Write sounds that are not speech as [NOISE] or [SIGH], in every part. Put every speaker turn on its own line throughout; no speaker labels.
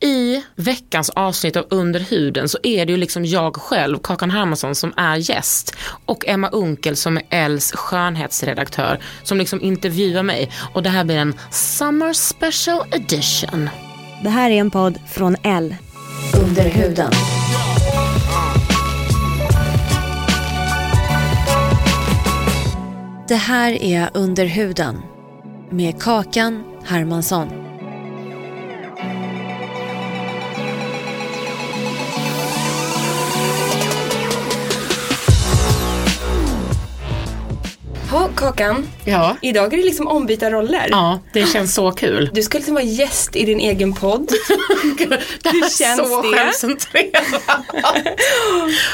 I veckans avsnitt av Under huden så är det ju liksom jag själv, Kakan Hermansson, som är gäst. Och Emma Unkel som är Els skönhetsredaktör som liksom intervjuar mig. Och det här blir en Summer Special Edition.
Det här är en podd från L. Under huden. Det här är Under huden med Kakan Hermansson.
Ja, Kakan.
Ja.
Idag är det liksom ombytta roller.
Ja, det känns så kul.
Du ska liksom vara gäst i din
[LAUGHS]
egen podd.
Det
Hur
här är
känns
så
det?
självcentrerat.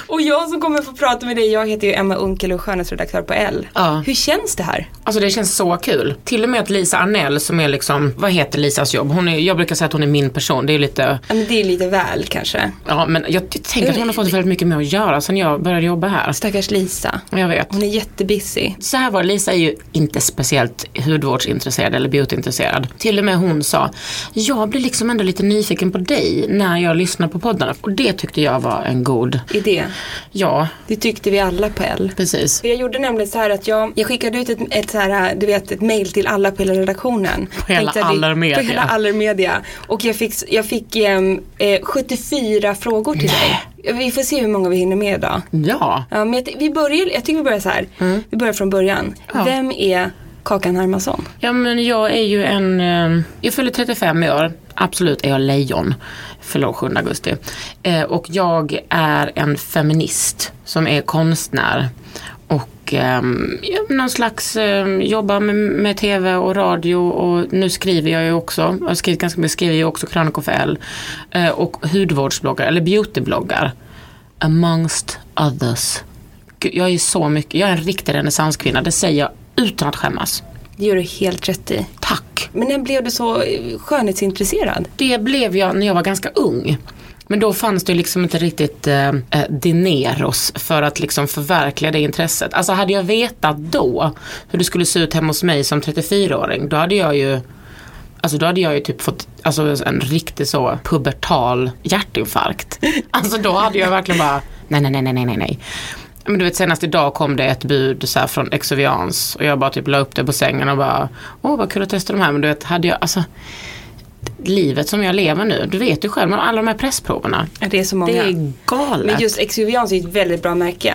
och jag som kommer få prata med dig, jag heter ju Emma Unkel och är skönhetsredaktör på L.
Ja.
Hur känns det här?
[LAUGHS] Alltså det känns så kul. Till och med att Lisa Arnell som är liksom, vad heter Lisas jobb? Hon är, jag brukar säga att hon är min person, det är lite
Ja, men det är lite väl kanske.
Ja, men jag t- tänker att hon har fått väldigt mycket med att göra sen jag började jobba här.
Stackars Lisa.
Jag vet.
Hon är jättebusy.
Så här var det, Lisa är ju inte speciellt hudvårdsintresserad eller beautyintresserad. Till och med hon sa, jag blir liksom ändå lite nyfiken på dig när jag lyssnar på poddarna. Och det tyckte jag var en god,
Idé.
ja
Det tyckte vi alla på L.
precis.
För jag gjorde nämligen så här att jag, jag skickade ut ett, ett, så här, du vet, ett mail till alla på hela redaktionen.
hela
Tänkte att vi-
Allermedia.
På hela allermedia. Och jag fick, jag fick ehm, eh, 74 frågor till dig. Vi får se hur många vi hinner med idag.
Ja,
Ja, men jag, ty- vi börjar, jag tycker vi börjar så här. Vi börjar från början.
Mm. Ja.
Vem är Kakan Hermansson?
ja men jag är ju en, eh, jag fyller 35 i år, absolut är jag lejon, förlåt 7 augusti. Eh, och jag är en feminist som är konstnär. Och ehm, ja, någon slags ehm, jobbar med, med tv och radio och nu skriver jag ju också, jag har skrivit ganska mycket, skriver ju också krönikor för L. Eh, och hudvårdsbloggar, eller beautybloggar. Amongst others. Gud, jag är så mycket, jag är en riktig renässanskvinna, det säger jag utan att skämmas.
Det gör du helt rätt i.
Tack!
Men när blev du så eh, skönhetsintresserad?
Det blev jag när jag var ganska ung. Men då fanns det liksom inte riktigt eh, eh, dineros för att liksom förverkliga det intresset. Alltså hade jag vetat då hur det skulle se ut hemma hos mig som 34-åring, då hade jag ju Alltså då hade jag ju typ fått alltså, en riktig så pubertal hjärtinfarkt. [LAUGHS] Alltså då hade jag verkligen bara, nej nej nej nej nej nej, nej. Men du vet senast idag kom det ett bud så här från Exovians och jag bara typ la upp det på sängen och bara, åh vad kul att testa de här. Men du vet, hade jag, alltså livet som jag lever nu, du vet ju själv, men alla de här pressproverna.
Ja, Det är så många.
Det är galet.
men just Exuvians är ju ett väldigt bra märke.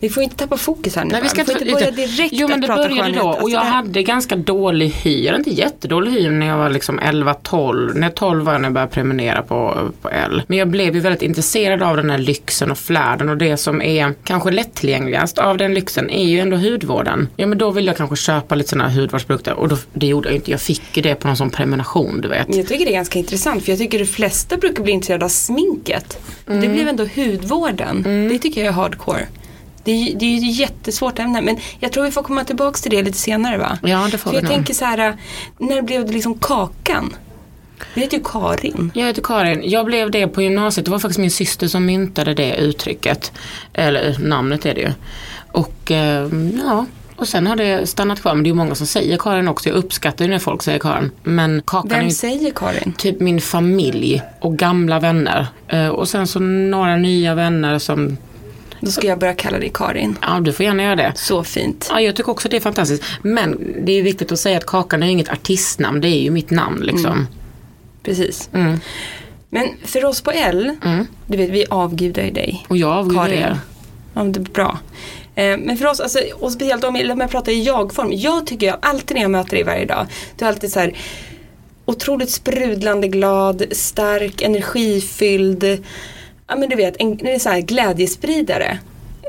Vi får inte tappa fokus här nu.
Mm. Nej, vi
bara.
ska
får inte börja direkt
Jo men
att
det
prata
började
skönhet.
då och
Alltså,
jag
det här-
hade ganska dålig hy, eller inte jättedålig hy när jag var liksom 11-12. När 12 var jag när jag började prenumerera på, på L. Men jag blev ju väldigt intresserad av den här lyxen och flärden och det som är kanske lättillgängligast av den lyxen är ju ändå hudvården. Ja men då ville jag kanske köpa lite sådana här hudvårdsprodukter och då, det gjorde jag ju inte. Jag fick ju det på någon sån prenumeration du vet.
Men jag tycker det är ganska intressant för jag tycker de flesta brukar bli intresserade av sminket. Men
Mm.
Det blev ändå hudvården. Det tycker jag är hardcore. Det är, ju- det är ju ett jättesvårt ämne men jag tror vi får komma tillbaka till det lite senare va?
Ja, det får
för
vi
jag
nog.
tänker så här, äh, när blev det liksom Kakan? Det heter ju Karin.
Jag heter Karin. Jag blev det på gymnasiet. Det var faktiskt min syster som myntade det uttrycket. Eller namnet är det ju. Och eh, ja, och sen har det stannat kvar. Men det är ju många som säger Karin också. Jag uppskattar ju när folk säger Karin. Men Kakan är
Vem
ju
säger Karin?
typ min familj och gamla vänner. Eh, och sen så några nya vänner som,
Då ska jag börja kalla dig Karin.
ja du får gärna göra det.
Så fint.
Ja, jag tycker också det är
Mm.
fantastiskt. Men det är viktigt att säga att Kakan är ju inget artistnamn. Det är ju mitt namn liksom.
Precis. Men för oss på L,
Mm.
du vet vi avgudar ju dig.
Och jag avgudar
Karin.
er.
Ja, men det är bra. Eh, Men för oss, alltså, och speciellt om jag, om jag pratar i jag-form. Jag tycker jag alltid när jag möter dig varje dag, du är alltid så här otroligt sprudlande glad, stark, energifylld. Ja men du vet, en, en så här glädjespridare.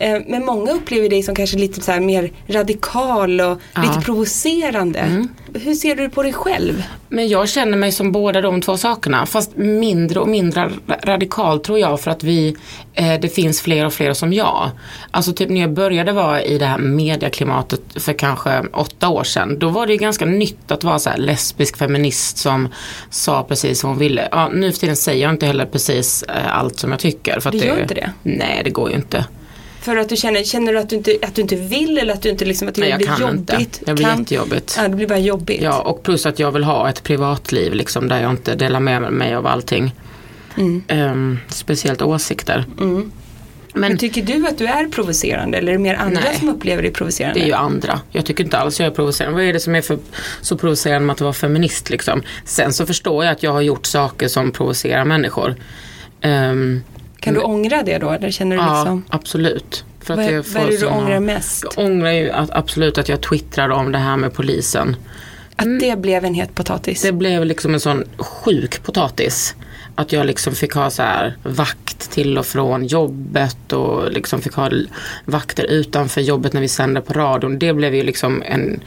Eh, Men många upplever dig som kanske lite så här mer radikal och lite provocerande.
Mm.
Hur ser du på dig själv?
Men jag känner mig som båda de två sakerna. Fast mindre och mindre ra- radikal tror jag för att vi, eh, det finns fler och fler som jag. Alltså typ när jag började vara i det här medieklimatet för kanske åtta år sedan. Då var det ju ganska nytt att vara så här lesbisk feminist som sa precis vad hon ville. Ja, nu för tiden säger jag inte heller precis eh, allt som jag tycker. För att
Du gör inte det?
Nej, det går ju inte.
För att du känner, känner du att du, inte, att du inte vill eller att du inte liksom, att det
Nej, jag
blir
kan
jobbigt?
inte. Det blir
Kan-
jättejobbigt.
Ja, det blir bara jobbigt.
Ja, och plus att jag vill ha ett privatliv liksom, där jag inte delar med mig av allting.
Mm.
Ehm, speciellt åsikter.
Men,
Men
tycker du att du är provocerande eller är det mer andra
Nej.
som upplever dig provocerande?
det är ju andra. Jag tycker inte alls jag är provocerande. Vad är det som är för, så provocerande med att vara feminist liksom? Sen så förstår jag att jag har gjort saker som provocerar människor. Ehm,
kan du ångra det då? Eller känner du
ja,
liksom,
absolut. För
vad,
det
vad är det du
såna-
ångrar mest?
Jag ångrar ju att, absolut att jag twittrade om det här med polisen.
Att det blev en het potatis?
Mm. Det blev liksom en sån sjuk potatis. Att jag liksom fick ha så här vakt till och från jobbet och liksom fick ha l- vakter utanför jobbet när vi sände på radion. Det blev ju liksom en,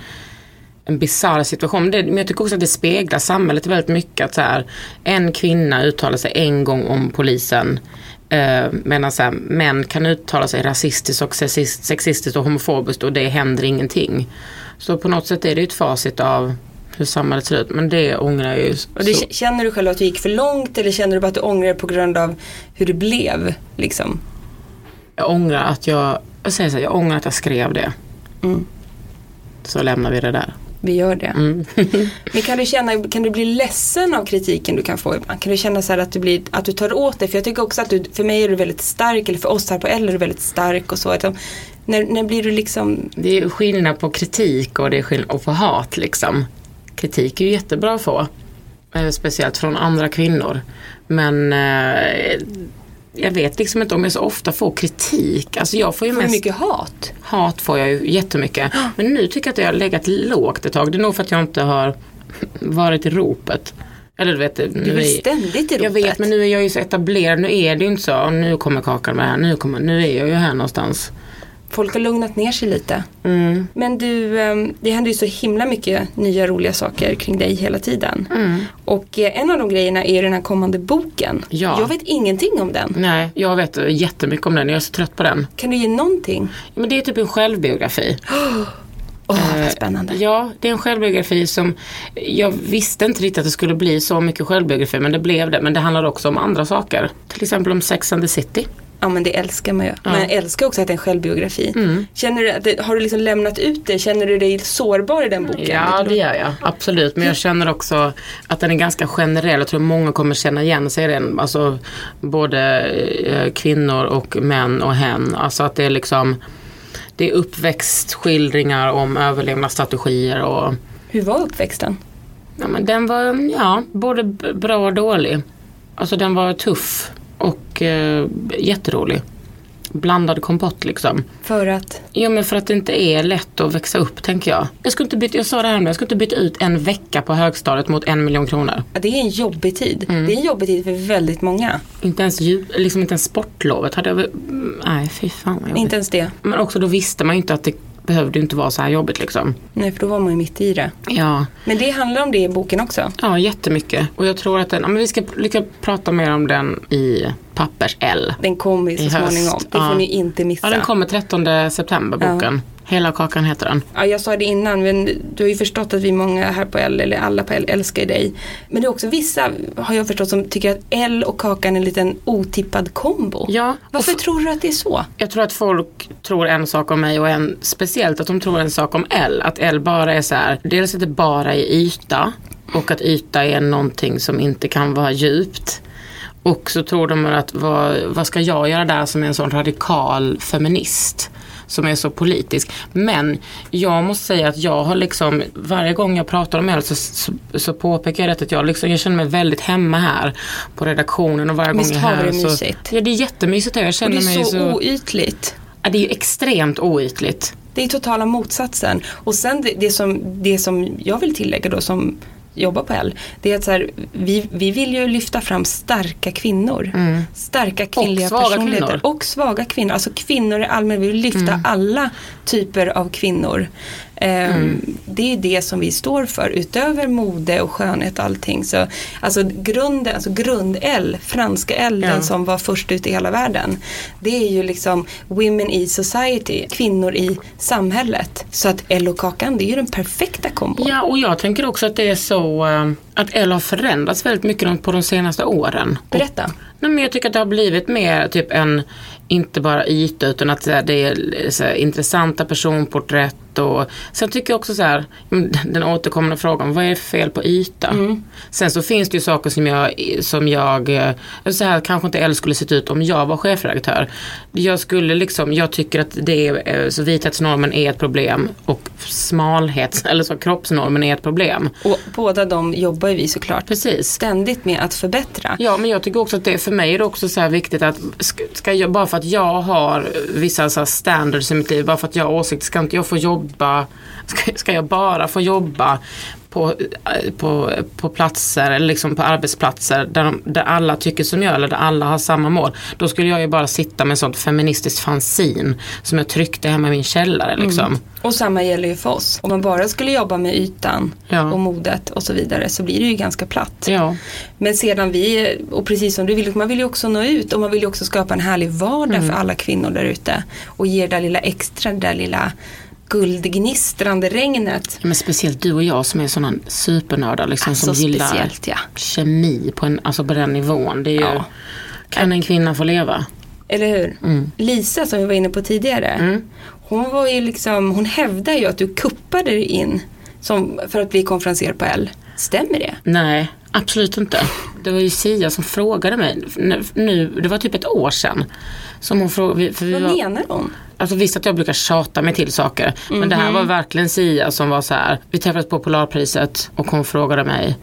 en bisarr situation. Men, det, men jag tycker också att det speglar samhället väldigt mycket. Att så här, en kvinna uttalar sig en gång om polisen. Eh, medan så här, män kan uttala sig rasistiskt och sexist- sexistiskt och homofobiskt och det händer ingenting. Så på något sätt är det ju ett facit av hur samhället ser ut. Men det ångrar jag ju.
och det,
så-
k- känner du själv att du gick för långt eller känner du bara att du ångrar det på grund av hur det blev? Liksom?
Jag ångrar att jag, jag säger så här, jag ångrar att jag skrev det.
Mm.
Så lämnar vi det där.
Vi gör det.
Mm.
[LAUGHS] Men kan du, känna, kan du bli ledsen av kritiken du kan få ibland? Kan du känna så här att, du blir, att du tar åt dig? För jag tycker också att du, för mig är du väldigt stark, eller för oss här på L är du väldigt stark och så. Att, de- när, när blir du liksom,
Det är skillnad på kritik och det är skillnad och på hat liksom. Kritik är ju jättebra att få. Eh, Speciellt från andra kvinnor. Men eh, jag vet liksom inte om jag så ofta får kritik. Alltså jag får ju
får du
mest
mycket hat?
hat får jag ju
[GASPS]
jättemycket. Men nu tycker jag att jag har legat lågt ett tag. Det är nog för att jag inte har [LAUGHS] varit i ropet. Eller du vet, nu
Du är väl
är-
ständigt i
Jag vet
ropet?
men nu är jag ju så etablerad, nu är det ju inte så, "Ja, nu kommer Kakan med här, nu, kommer, nu är jag ju här någonstans.
Folk har lugnat ner sig lite.
Mm.
Men du, ehm, det händer ju så himla mycket nya roliga saker kring dig hela tiden.
Mm.
Och eh, en av de grejerna är ju den här kommande boken.
Ja.
Jag vet ingenting om den.
Nej, jag vet jättemycket om den, jag är så trött på den.
Kan du ge någonting?
Men det är typ en [GASPS] självbiografi.
Åh, vad spännande.
Eh, Ja, det är en självbiografi som jag visste inte riktigt att det skulle bli så mycket självbiografi men det blev det. Men det handlar också om andra saker. Till exempel om Sex and the City.
Ja men det älskar man ju. Men jag älskar också att det är en självbiografi.
Mm.
Känner du att det, har du liksom lämnat ut det? Känner du dig sårbar i den boken?
Ja, det gör jag. Absolut. Men jag känner också att den är ganska generell. Jag tror många kommer känna igen sig i den. Alltså, både eh, kvinnor och män och hen. Alltså att det är liksom det är uppväxtskildringar om överlevnadsstrategier och
Hur var uppväxten?
ja, men den var ja, både b- bra och dålig. Alltså den var tuff och eh, jätterolig. Blandad kompott liksom.
För att,
Ja men för att det inte är lätt att växa upp tänker jag. Jag, skulle inte byta, jag sa det här med, jag skulle inte byta ut en vecka på högstadiet mot en miljon kronor.
ja, det är en jobbig tid.
Mm.
Det är en jobbig tid för väldigt många.
Inte ens, djup, liksom inte ens sportlovet hade jag väl- mm, Nej fy fan vad jobbigt.
Inte ens det.
Men också då visste man ju inte att det behövde ju inte vara så här jobbigt liksom.
Nej för då var man ju mitt i det.
Ja,
Men det handlar om det i boken också.
ja jättemycket. Och jag tror att den, ja, men vi ska lycka prata mer om den i pappers L.
Den kommer ju så
I höst.
småningom. Det
Ja.
får ni inte missa.
Ja den kommer 13 september boken. Hela kakan heter den.
Ja, jag sa det innan, men du har ju förstått att vi många här på L, eller alla på L, älskar ju dig. Men det är också vissa, har jag förstått, som tycker att L och Kakan är en liten otippad kombo.
Ja,
Varför
och f-
tror du att det är så?
Jag tror att folk tror en sak om mig och en speciellt att de tror en sak om L. Att L bara är så här, dels att det bara är yta och att yta är någonting som inte kan vara djupt. Och så tror de att vad, vad ska jag göra där som är en sån radikal feminist? som är så politisk. Men jag måste säga att jag har liksom, varje gång jag pratar om öl så, så, så påpekar jag det att jag, liksom, jag känner mig väldigt hemma här på redaktionen och varje
Visst
gång jag är
har
här
vi det
så,
mysigt?
Ja det är jättemysigt här. Jag
Och
känner
det
mig
är så,
så...
oytligt.
Ja, det är ju extremt oytligt.
Det är totala motsatsen. Och sen det, det, som, det som jag vill tillägga då som jobbar på L, det är att så här, vi, vi vill ju lyfta fram starka kvinnor. Starka kvinnliga
svaga
personligheter
Mm. kvinnor.
och svaga kvinnor. Alltså kvinnor i allmänhet, vi vill lyfta
Mm.
alla typer av kvinnor. Ehm,
Mm.
Det är det som vi står för utöver mode och skönhet och allting. Så, alltså grunden, alltså grund-L, franska L,
Ja.
den som var först ut i hela världen. Det är ju liksom women in society, kvinnor i samhället. Så att L och Kakan, det är ju den perfekta kombon.
Ja, och jag tänker också att det är så eh, att L har förändrats väldigt mycket de- på de senaste åren.
Berätta.
Nej, men jag tycker att det har blivit mer typ en, inte bara yta utan att så här, det är så här, intressanta personporträtt och sen tycker jag också så här, mm, [LAUGHS] den återkommande frågan, vad är det för fel på yta? Sen så finns det ju saker som jag, som jag, eh, så här kanske inte L skulle sett ut om jag var chefredaktör. Jag skulle liksom, jag tycker att det är, eh, så vithetsnormen är ett problem och smalhets, [LAUGHS] eller så kroppsnormen är ett problem.
Och båda de jobbar ju vi såklart
Precis.
ständigt med att förbättra.
Ja men jag tycker också att det för mig är det också så här viktigt att ska, ska jag, bara för att jag har vissa så här standards i mitt liv, bara för att jag har åsikter, ska inte jag få jobba, ska, ska jag bara få jobba på, eh, på, på platser eller liksom på arbetsplatser där, de, där alla tycker som jag eller där alla har samma mål. Då skulle jag ju bara sitta med sånt feministiskt fanzine som jag tryckte hemma i min källare liksom.
Och samma gäller ju för oss. Om man bara skulle jobba med ytan
Ja.
och modet och så vidare så blir det ju ganska platt.
Ja.
Men sedan vi, och precis som du vill, man vill ju också nå ut och man vill ju också skapa en härlig vardag
Mm.
för alla kvinnor där ute. Och ge det där lilla extra, det där lilla guldgnistrande regnet.
Men speciellt du och jag som är sådana supernördar liksom,
Alltså,
som gillar
speciellt, ja.
kemi på, en, alltså på den nivån. Det är ju,
Ja.
Kan en kvinna få leva?
Eller hur?
Mm.
Lisa som vi var inne på tidigare. Hon var ju liksom, hon hävdar ju att du kuppade dig in som, för att bli konferenser på L. Stämmer det?
Nej, absolut inte. Det var ju Sia som frågade mig, nu- nu, det var typ ett år sedan. Som hon frågade, vi- för vi
Vad
var,
menar hon?
Alltså visst att jag brukar tjata mig till saker. Men det här var verkligen Sia som var så här. Vi träffades på Polarpriset och hon frågade mig.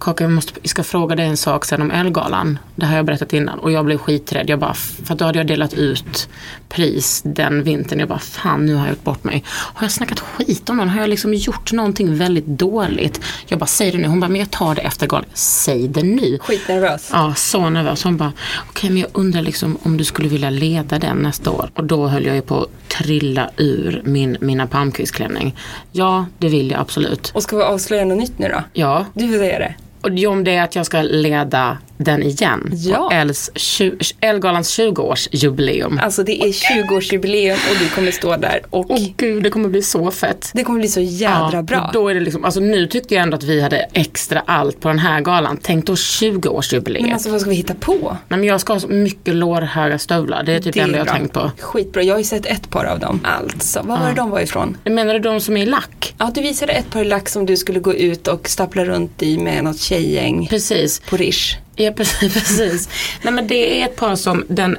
Kaka, jag måste, jag ska fråga dig en sak sen om Elgalan. Det här har jag berättat innan. Och jag blev skiträdd. Jag bara, f- för att då hade jag delat ut pris den vintern. Jag bara, fan nu har jag gjort bort mig. Har jag snackat skit om någon? Har jag liksom gjort någonting väldigt dåligt? Jag bara, säg det nu. Hon bara, men jag tar det efter galan. Säg det nu.
Skitnervös.
Ja, så nervös. Hon bara, okej men jag undrar liksom om du skulle vilja leda den nästa år. Och då höll jag ju på att trilla ur min Mina Palmqvist-klänning. Ja, det vill jag absolut.
Och ska vi avslöja något nytt nu då?
Ja,
Du vill säga det?
och det- om det är att jag ska leda den igen.
Ja.
På Els tju- Elgalans 20-årsjubileum.
Alltså det är 20-årsjubileum och du kommer stå där och
Åh gud, det kommer bli så fett.
det kommer bli så jädra
Oh. Ja,
bra.
och Då är det liksom, alltså nu tyckte jag ändå att vi hade extra allt på den här galan. Tänk då 20-årsjubileet.
Men alltså vad ska vi hitta på?
Nej men jag ska ha så mycket lårhöga stövlar. Det är typ det enda jag har
bra.
tänkt på.
Skitbra, jag har ju sett ett par av dem. Alltså, vad var det de var ifrån?
Menar du de som är i lack?
Ja, du visade ett par lack som du skulle gå ut och stapla runt i med något tjejgäng
Precis.
på Rish.
Ja, precis. [LAUGHS] precis. Nej, men det är ett par som den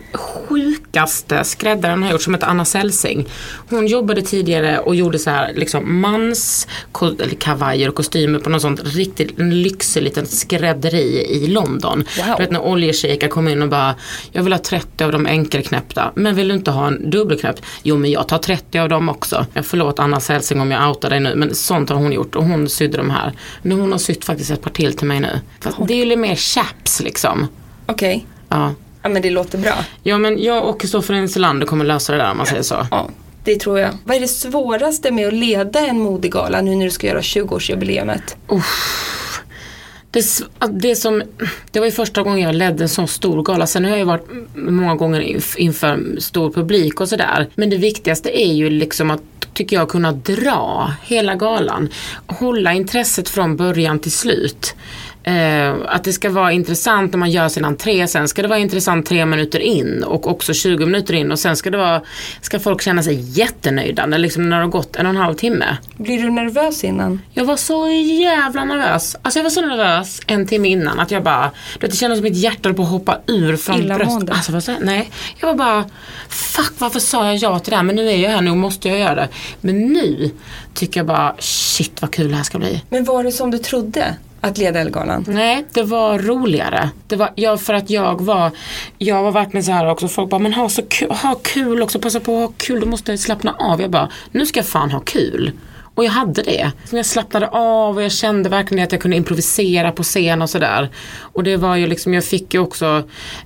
sjukaste skräddaren har gjort som heter Anna Selsing. Hon jobbade tidigare och gjorde så här liksom mans ko- eller kavajer och kostymer på något sånt riktigt en lyxig liten skrädderi i London.
Wow.
Du vet när oljeshejkar kom in och bara jag vill ha 30 av de enkelknäppta men vill du inte ha en dubbelknäppt? Jo men jag tar 30 av dem också. Jag förlåt Anna Selsing om jag outar dig nu men sånt har hon gjort och hon sydde de här. Men hon har sytt faktiskt ett par till till mig nu. Fast det är ju lite mer chaps liksom.
Okej,
Ja.
ja men det låter bra.
Ja men jag och Kristoffer Enslander kommer lösa det där om man säger så.
Ja, det tror jag. Vad är det svåraste med att leda en modegala nu när du ska göra 20-årsjubileumet?
Det, s- att det, som, det var ju första gången jag ledde en sån stor gala. Sen har jag ju varit m- många gånger inf- inför stor publik och sådär. Men det viktigaste är ju liksom att, tycker jag, kunna dra hela galan. Hålla intresset från början till slut. Eh, att det ska vara intressant när man gör sin entré, sen ska det vara intressant tre minuter in och också 20 minuter in och sen ska, det vara, ska folk känna sig jättenöjda när, liksom, när det har gått en och en halv timme.
Blir du nervös innan?
Jag var så jävla nervös. Alltså jag var så nervös en timme innan att jag bara, du vet, det kändes som mitt hjärta höll på att hoppa ur från
Illamående.
bröstet. Alltså, jag var så, nej. Jag var bara, fuck varför sa jag ja till det här? Men nu är jag här, nu måste jag göra det. Men nu tycker jag bara, shit vad kul det här ska bli.
Men var det som du trodde att leda Ellegalan?
Nej, det var roligare. Det var, ja, för att jag var, jag var verkligen så här också, folk bara, men ha så kul, ha kul också, passa på att ha kul, du måste slappna av. Jag bara, nu ska jag fan ha kul. Och jag hade det. Så Jag slappnade av och jag kände verkligen att jag kunde improvisera på scen och sådär. Och det var ju liksom, jag fick ju också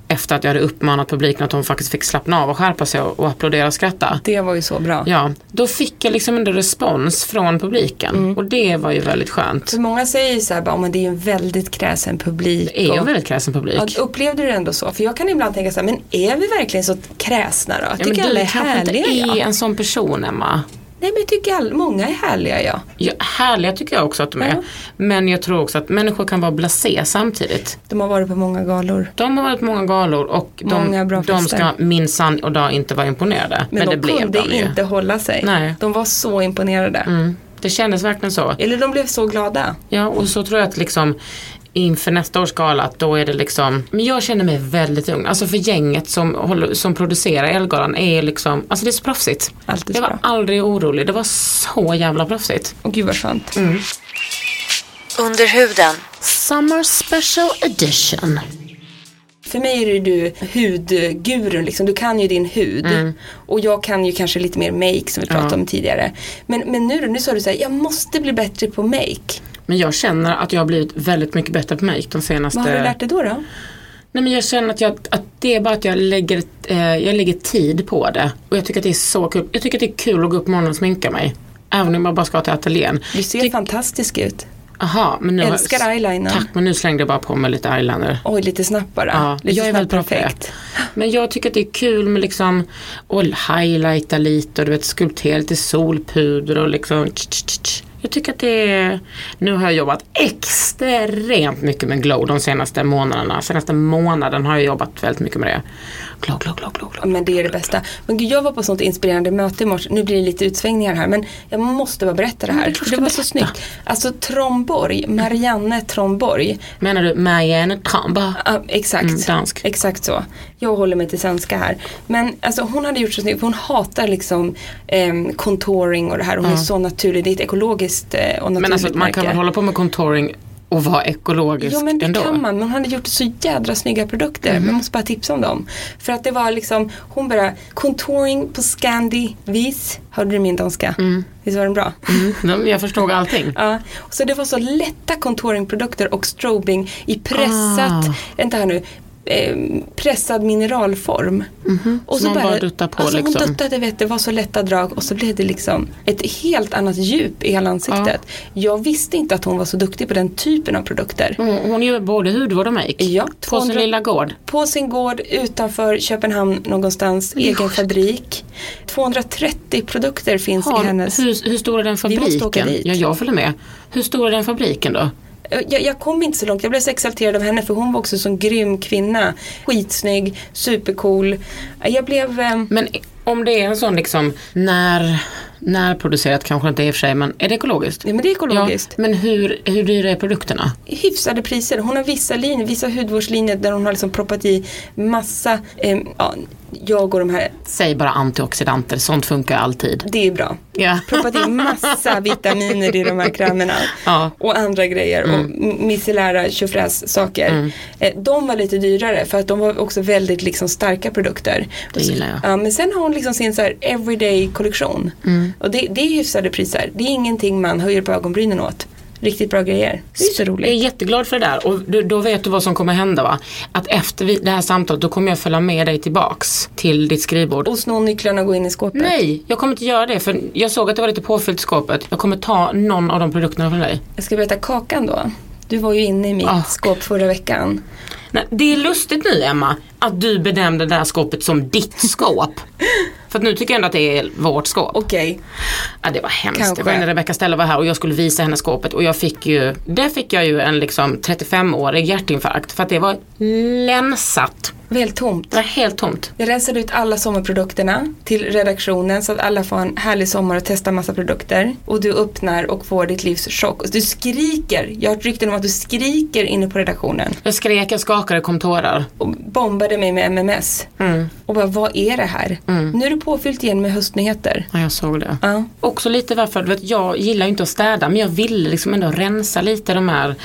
efter att jag hade uppmanat publiken att de faktiskt fick slappna av och skärpa sig och, och applådera och skratta.
Det var ju så bra.
Ja, då fick jag liksom en respons från publiken och det var ju väldigt skönt.
För många säger ju så här, bara, "Åh, men det är ju en väldigt kräsen publik.
Det är ju
och-
en väldigt kräsen publik.
Ja, upplevde du det ändå så? För jag kan ibland tänka så här, men är vi verkligen så kräsna då? Jag
Ja,
tycker
men
alla
du
är
kanske
härliga
inte är
ja.
en sån person Emma.
Nej men jag tycker all, många är härliga ja.
Ja, härliga tycker jag också att de är.
Ja.
Men jag tror också att människor kan vara blasé samtidigt.
De har varit på många galor.
De har varit på många galor och de,
Många bra
de
fester.
ska minsann och dag inte vara imponerade. Men,
Men,
det
de
blev
kunde
de ju.
inte hålla sig.
Nej.
De var så imponerade.
Mm, det kändes verkligen så.
Eller de blev så glada.
Ja, och så tror jag att liksom inför nästa års gala att då är det liksom, men jag känner mig väldigt ung. Alltså för gänget som, håller, som producerar Ellegalan är liksom, alltså det är så proffsigt.
Alltid
jag
så
var
bra.
aldrig orolig, det var så jävla proffsigt.
Och gud vad skönt.
Under huden.
Summer Special Edition.
För mig är det ju du hudgurun liksom. Du kan ju din hud.
Mm.
Och jag kan ju kanske lite mer make som vi pratade om tidigare. Men, men nu då, nu sa du så här, jag måste bli bättre på make.
Men jag känner att jag har blivit väldigt mycket bättre på mig de senaste...
Vad har du lärt dig då då?
Nej men jag känner att, jag, att det är bara att jag lägger, eh, jag lägger tid på det. Och jag tycker att det är så kul. Jag tycker att det är kul att gå upp på morgonen och sminka mig. Även om jag bara ska till ateljén.
Du ser
Tyck-
fantastisk ut.
Aha, men nu har-
Älskar eyeliner.
Tack men nu slängde jag bara på mig lite eyeliner.
Oj, lite snabbt bara.
Ja,
lite
jag är väldigt bra på det.
perfekt.
Men jag tycker att det är kul med liksom och highlighta lite och du vet skulptera lite solpuder och liksom tch, tch, tch, tch. Jag tycker att det är, nu har jag jobbat extremt mycket med glow de senaste månaderna. Senaste månaden har jag jobbat väldigt mycket med det. Glow, glow, glow, glow, glow.
Men det är det bästa. Men gud, jag var på sånt inspirerande möte i morse. Nu blir det lite utsvängningar här men jag måste bara berätta det här.
det är klart
för
du
det
ska
var så
berätta.
snyggt. Alltså Tromborg, Marianne Tromborg.
Menar du Marianne Tramba?
Ja, exakt.
Mm, dansk.
Exakt så. Jag håller mig till svenska här. Men alltså, hon hade gjort så snyggt. för Hon hatar liksom ehm, contouring och det här. Hon är så naturlig. Det är ett ekologiskt eh, och naturligt
Men alltså man kan
märke.
väl hålla på med contouring och vara ekologisk
Jo men det
ändå? Mhm.
kan man, men hon hade gjort så jädra snygga produkter. Man måste bara tipsa om dem. För att det var liksom, hon bara contouring på Scandi vis. Hörde du min danska? Visst var den bra?
Mm, jag förstod allting.
Ja, så det var så lätta contouringprodukter och strobing i pressat,
Ah.
vänta här nu, eh, pressad mineralform. Och
Så Mhm. man bara duttar på,
alltså
liksom.
Hon duttade, vet, det var så lätta drag och så blev det liksom ett helt annat djup i hela ansiktet. Jag visste inte att hon var så duktig på den typen av produkter.
Hon, hon gör både hudvård och make.
Ja,
Mm. på sin
200
lilla gård.
På sin gård utanför Köpenhamn någonstans, egen fabrik. 230 produkter finns
Har,
i hennes.
hur, hur stor är den
Vi måste åka
fabriken?
dit.
Ja, jag följer med. Hur stor är den fabriken då?
Eh, Jag, jag kom inte så långt, jag blev så exalterad av henne för hon var också en sån grym kvinna. Skitsnygg, supercool. Eh, Jag blev... Eh,
Men om det är en sån liksom när, när producerat kanske inte är i och för sig, men är det ekologiskt?
Nej men det är ekologiskt.
Ja, men hur, hur dyra är produkterna?
Hyfsade priser. Hon har vissa linjer, vissa hudvårdslinjer där hon har liksom proppat i massa, eh, ja, jag och de här,
Säg bara antioxidanter, sånt funkar alltid.
det är bra.
Ja.
Proppat
[LAUGHS]
i massa vitaminer i de här krämerna.
Ja. Mm.
Och andra grejer och m- micellära tjofräs saker. Eh, De var lite dyrare för att de var också väldigt liksom starka produkter.
Det gillar jag.
Ja, men sen har hon liksom sin så här everyday kollektion.
Mm.
Och det, det är hyfsade priser. Det är ingenting man höjer på ögonbrynen åt. Riktigt bra grejer. Det är så
Jag är
roligt.
jätteglad för det där och du, då vet du vad som kommer hända va? Att efter vi, det här samtalet då kommer jag följa med dig tillbaks till ditt skrivbord.
Och sno nycklarna och gå in i skåpet.
Nej, jag kommer inte göra det för jag såg att det var lite påfyllt i skåpet. Jag kommer ta någon av de produkterna från dig.
Jag ska berätta Kakan då. Du var ju inne i mitt
Ah.
skåp förra veckan. [LAUGHS]
Nej, det är lustigt nu Emma, att du benämnde det här skåpet som ditt skåp. För att nu tycker jag ändå att det är vårt skåp.
Okej.
Ja, det var hemskt.
Kanske.
Det var när Rebecca Stella var här och jag skulle visa henne skåpet och jag fick ju, där fick jag ju en liksom 35-årig hjärtinfarkt för att det var länsat.
Väl tomt.
Det var helt tomt.
Jag rensade ut alla sommarprodukterna till redaktionen så att alla får en härlig sommar och testa massa produkter. Och du öppnar och får ditt livs chock. Och du skriker. Jag har ett rykte om att du skriker inne på redaktionen.
Jag skrek, jag skakade, kom tårar.
Och bombade mig med MMS. Och bara, vad är det här? Nu är du påfyllt igen med höstnyheter.
Ja, jag såg det.
Ja.
Också lite varför, du vet, jag gillar ju inte att städa men jag ville liksom ändå rensa lite de här,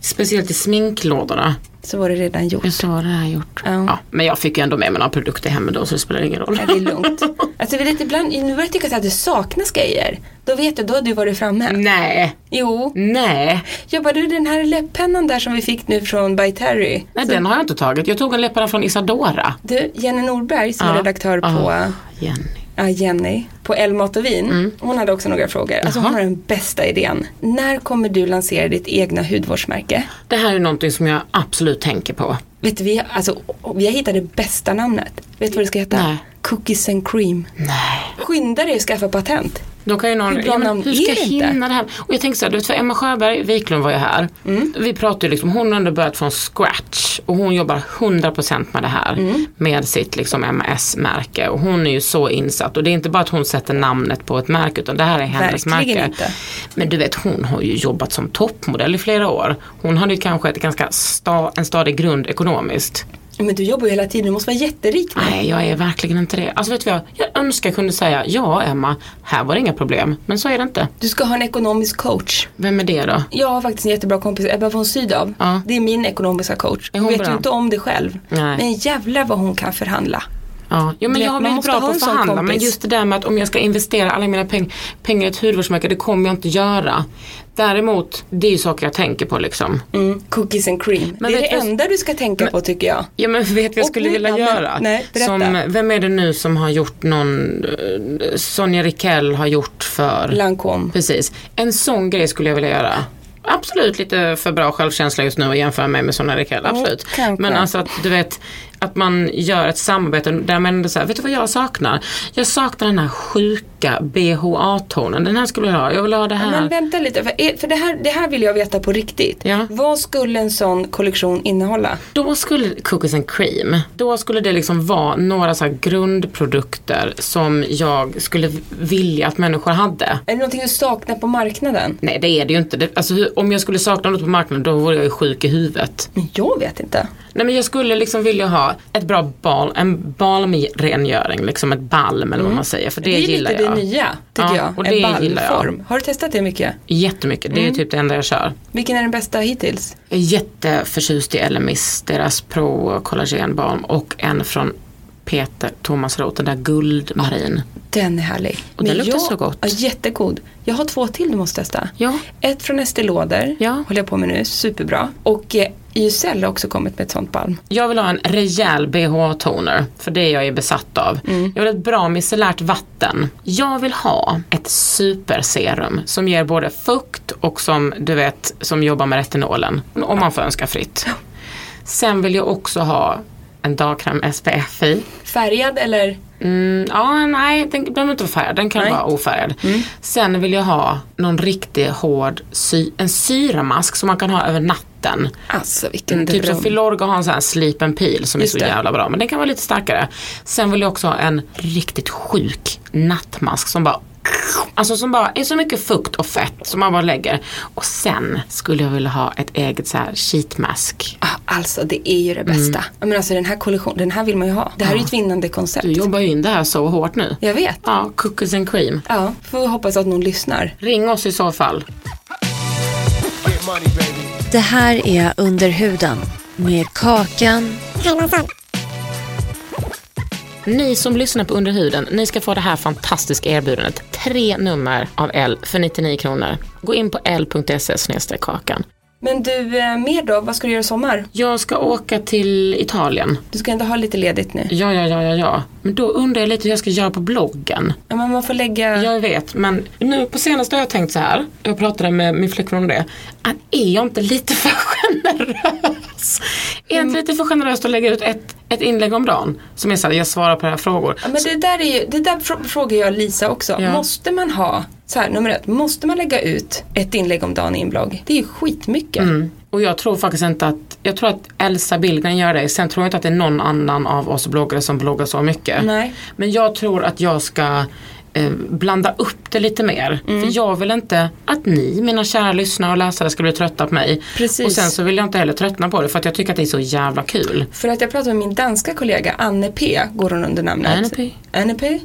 speciellt i sminklådorna.
Så var det redan gjort.
Jag sa det här gjort.
Ja.
Ja, men jag fick ju ändå med mig några produkter hem då så det spelar ingen roll.
Nej, det är lugnt. Alltså, vet du, ibland, nu börjar jag tycka så här att det saknas grejer. Då vet jag, då har du varit framme.
[LAUGHS] Mm. Nej,
Jo.
nej,
Jag bara, du den här läpppennan där som vi fick nu från By Terry.
nej den har jag inte tagit. Jag tog en läpparna från Isadora.
Du, Jenny Norberg som är
Ja. Mm.
redaktör på
Ah, Jenny.
ja, Jenny på El Mat och Vin. Hon hade också några frågor. Alltså hon har den bästa idén. När kommer du lansera ditt egna hudvårdsmärke?
Det här är ju någonting som jag absolut tänker på.
Vet du, vi, har- alltså, vi har hittat det bästa namnet. Vet du vad det ska heta?
Nej.
Cookies and cream.
Nej.
Skynda dig att skaffa patent.
Då kan ju någon,
Hur bra
ja, men
namn
hur
är
ska jag
det inte?
hinna det här? Och jag tänker så här, du vet för Emma Sjöberg Wiklund var ju här.
Mm.
Vi pratade ju liksom, hon har ändå börjat från scratch och hon jobbar 100% med det här.
Mm.
Med sitt liksom MS-märke och hon är ju så insatt och det är inte bara att hon sätter namnet på ett märke utan det här är hennes
Verkligen
märke.
inte.
Men du vet hon har ju jobbat som toppmodell i flera år. Hon hade ju kanske ett ganska sta, en stadig grund ekonomiskt.
Men du jobbar ju hela tiden, du måste vara jätterik nu.
Nej, jag är verkligen inte det. Alltså vet du vad, jag önskar jag kunde säga ja Emma, här var det inga problem. Men så är det inte.
Du ska ha en ekonomisk coach.
Vem är det då?
Jag har faktiskt en jättebra kompis, Ebba von Sydow.
Ja.
Det är min ekonomiska coach.
Är
Hon
hon
vet
bra?
ju inte om det själv.
Nej.
Men jävlar vad hon kan förhandla.
Ja, jo, men
vet,
jag har
man
blivit
måste
bra
ha
på
en
att
sån
förhandla men
kompis.
just det där med att om jag ska investera alla mina peng pengar i ett hudvårdsmärke, det kommer jag inte göra. Däremot, det är ju saker jag tänker på liksom.
Mm, cookies and cream.
Men
det är
vet
det
du-
enda du ska tänka på tycker jag.
Ja men vet vad jag
Och
skulle
nu-
vilja
ja, men-
göra?
nej, berätta.
som, vem är det nu som har gjort någon, eh, Sonja Rikell har gjort för
Lancome.
Precis, en sån grej skulle jag vilja göra. Absolut lite för bra självkänsla just nu att jämföra mig med Sonja Rikell, absolut.
kanske.
Men alltså att du vet, att man gör ett samarbete där man ändå säger, vet du vad jag saknar? Jag saknar den här sjuka BHA-tonen, den här skulle jag ha, jag vill ha det här.
Men vänta lite, för, är- för det, här, det här vill jag veta på riktigt.
Ja.
Vad skulle en sån kollektion innehålla?
Då skulle cookies and cream, då skulle det liksom vara några så här grundprodukter som jag skulle vilja att människor hade.
Är det någonting du saknar på marknaden?
Nej det är det ju inte. Det, alltså, hur- om jag skulle sakna något på marknaden då vore jag ju sjuk i huvudet.
Men jag vet inte.
Nej men jag skulle liksom vilja ha ett bra bal, en balmrengöring, liksom ett balm eller vad man säger. För det,
Mm. det är
gillar
lite
jag.
det nya, tycker
Ja,
jag.
och
en
det gillar jag.
ballform. Har du testat det mycket?
Jättemycket, det är
Mm.
typ det enda jag kör.
Vilken är den bästa hittills?
Jag är jätteförtjust i Elemis, deras pro kollagenbalm och en från Peter Thomas Roth, den där guldmarin.
Den är härlig.
Och den luktar så gott.
Ja, jättegod. Jag har två till du måste testa.
Ja.
Ett från Estée Lauder,
Ja.
håller jag på med nu, superbra. Och eh, YSL har också kommit med ett sånt balm.
Jag vill ha en rejäl BHA-toner, för det är jag ju besatt av. Jag vill ha ett bra micellärt vatten. Jag vill ha ett superserum som ger både fukt och som du vet, som jobbar med retinolen. Om man får önska fritt. Sen vill jag också ha en dagkräm SPF i.
Färgad eller?
Mm, ja, nej, den behöver inte vara färgad. Den kan
Nej.
vara ofärgad. Sen vill jag ha någon riktigt hård sy- en syramask som man kan ha över natten.
Alltså vilken
Typ som
dröm.
Filorga har en sån här slipen pil som
Just
är så
det.
jävla bra. Men den kan vara lite starkare. Sen vill jag också ha en riktigt sjuk nattmask som bara Alltså som bara är så mycket fukt och fett som man bara lägger. Och sen skulle jag vilja ha ett eget så här sheet mask.
Ah, alltså det är ju det
Mm.
bästa. Ja, Men alltså den här kollektionen, den här vill man ju ha. Det här är ju ett vinnande koncept.
Du jobbar ju in det här så hårt nu.
Jag vet.
Ja, cookies and cream.
Ja, får vi hoppas att någon lyssnar.
Ring oss i så fall.
Det här är Under huden med Kakan
Ni som lyssnar på Under huden, ni ska få det här fantastiska erbjudandet. Tre nummer av L för 99 kronor. Gå in på l.se snedstreck kakan.
Men du, eh, mer då? Vad ska du göra i sommar?
Jag ska åka till Italien.
Du ska ändå ha lite ledigt nu.
Ja, ja, ja, ja, ja. Men då undrar jag lite hur jag ska göra på bloggen.
Ja, men man får lägga...
Jag vet, men nu på senaste har jag tänkt så här. Jag pratade med min flickvän om det. Att är jag inte lite för generös? Är jag inte lite för generös att lägga ut ett, ett inlägg om dagen som är så här, jag svarar på era frågor.
Ja, men det där, är ju, det där fr- frågar jag Lisa också.
Ja.
Måste man ha, så här, nummer ett, måste man lägga ut ett inlägg om dagen i en blogg? Det är ju skitmycket.
Mm. Och jag tror faktiskt inte att, jag tror att Elsa Billgren gör det. Sen tror jag inte att det är någon annan av oss bloggare som bloggar så mycket.
Nej.
Men jag tror att jag ska eh, blanda upp det lite mer. För jag vill inte att ni, mina kära lyssnare och läsare, ska bli trötta på mig.
Precis.
Och sen så vill jag inte heller tröttna på det för att jag tycker att det är så jävla kul.
För att jag pratade med min danska kollega Anne P, går hon under namnet.
Anne P.
Anne P.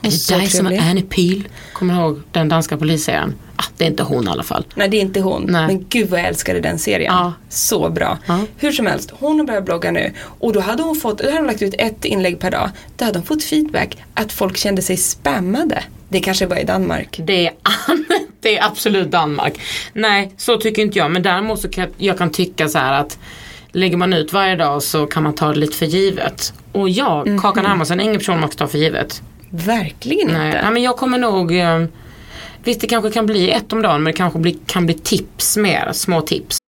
En
så
tjej som
trevlig.
är Annie Peel. Kommer du ihåg den danska polisserien? Ah, det är inte hon i alla fall.
Nej det är inte hon,
Nej.
men gud vad jag älskade den serien.
Ja.
Så bra.
Ja.
Hur som helst, hon har börjat blogga nu och då hade hon fått, då hade hon lagt ut ett inlägg per dag. Då hade hon fått feedback att folk kände sig spammade. Det kanske bara är i Danmark.
Det är, [LAUGHS] det är absolut Danmark. Nej, så tycker inte jag. Men däremot så kan jag, jag kan tycka så här att lägger man ut varje dag så kan man ta det lite för givet. Och jag, Kakan Hermansson, är ingen person man kan ta för givet.
Verkligen
Nej,
inte.
nej men jag kommer nog eh, Visst det kanske kan bli ett om dagen men det kanske blir, kan bli tips mer, små tips.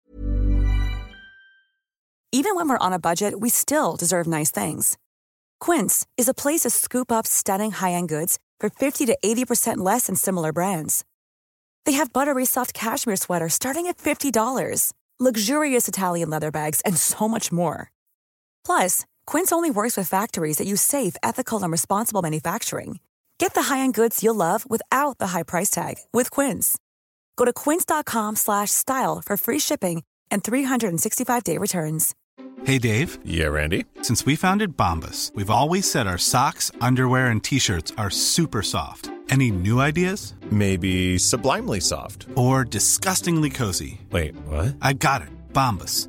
Even when we're on a budget, we still deserve nice things. Quince is a place to scoop up stunning high end goods for 50 to 80% less than similar brands. They have buttery soft cashmere sweaters starting at $50, luxurious Italian leather bags, and so much more. Plus, Quince only works with factories that use safe, ethical, and responsible manufacturing. Get the high-end goods you'll love without the high price tag with Quince. Go to quince.com/style slash style for free shipping and 365-day returns.
Hey Dave,
Yeah, Randy.
since we founded Bombus, we've always said our socks, underwear, and t shirts are super soft. Any new ideas?
Maybe sublimely soft.
Or disgustingly cozy?
Wait, what?
I got it, Bombus.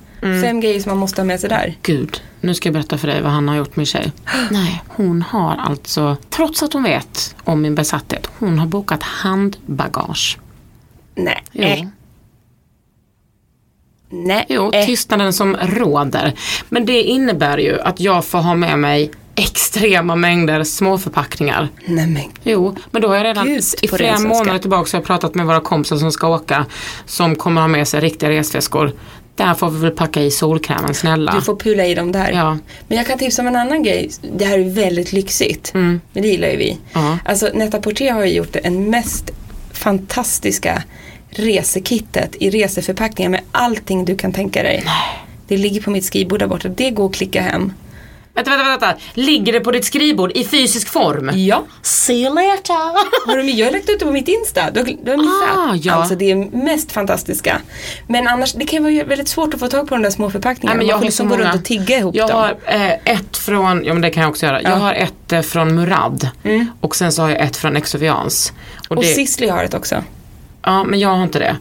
Mm.
Fem grejer som man måste ha med sig där.
Gud, nu ska jag berätta för dig vad han har gjort med [GASPS] tjej. Nej, hon har alltså, trots att hon vet om min besatthet, hon har bokat handbagage.
Nej.
Jo.
Nej.
Jo, typ.
Eh.
tystnaden som råder. Men det innebär ju att jag får ha med mig extrema mängder småförpackningar.
Nej men
Jo, men då har jag redan
Gud,
i
på
flera
resväska.
månader tillbaka så har jag pratat med våra kompisar som ska åka som kommer ha med sig riktiga resväskor. Där får vi väl packa i solkrämen snälla.
Du får pula i dem där.
Ja.
Men jag kan tipsa om en annan grej. Det här är väldigt lyxigt. Men det gillar ju vi.
Mm. Ja.
Alltså Netta Portier har ju gjort den mest fantastiska resekittet i reseförpackningar med allting du kan tänka dig. Det ligger på mitt skrivbord där borta. Det går att
[LAUGHS]
klicka hem.
Vänta, vänta, vänta. Ligger det på ditt skrivbord i fysisk form?
Ja.
See you later.
Har du, jag har lagt ut det på mitt Insta. Du har, du har missat.
Ah, ja.
Alltså det är mest fantastiska. Men annars, det kan vara väldigt svårt att få tag på de där små förpackningarna.
Nej, men
Man
jag
får
har så
liksom gå
många.
runt och tigga ihop
jag
dem.
har eh, ett från, ja men det kan jag också göra. Jag har ett eh, från Murad och sen så har jag ett från Exovians. Och,
Mm. Och
det,
Sisley har ett också.
Ja men jag har inte det.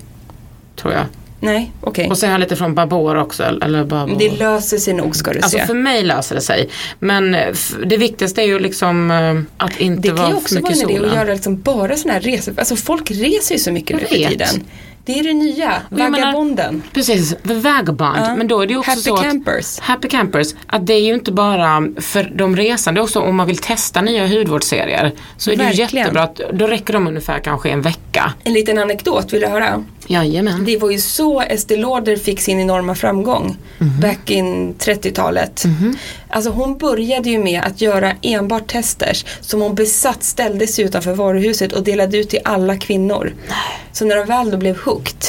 Tror
Eh.
jag.
Nej, okej.
Och sen har jag lite från Babor också. Eller eller Babor.
Men Det löser sig nog ska du
Alltså
se.
för mig löser det sig. Men eh, f- det viktigaste är ju liksom eh, att inte
det kan ju
vara för
också vara
mycket i
en idé att
solen.
göra liksom bara sådana här resor. Alltså folk reser ju så mycket nu
Jag
för
vet.
tiden. Det är det nya,
Och jag menar-
vagabonden.
Precis, the vagabond.
Ja.
Men då är det ju också
Happy
så att,
campers.
Happy campers. Att det är ju inte bara för de resande också om man vill testa nya hudvårdsserier. Så är det ju
Verkligen.
jättebra. Att, då räcker de ungefär kanske en vecka.
En liten anekdot, vill du höra?
Jajamän.
Det var ju så Estée Lauder fick sin enorma framgång back in 30-talet. Alltså hon började ju med att göra enbart testers som hon besatt ställde sig utanför varuhuset och delade ut till alla kvinnor. Så när de väl då blev hooked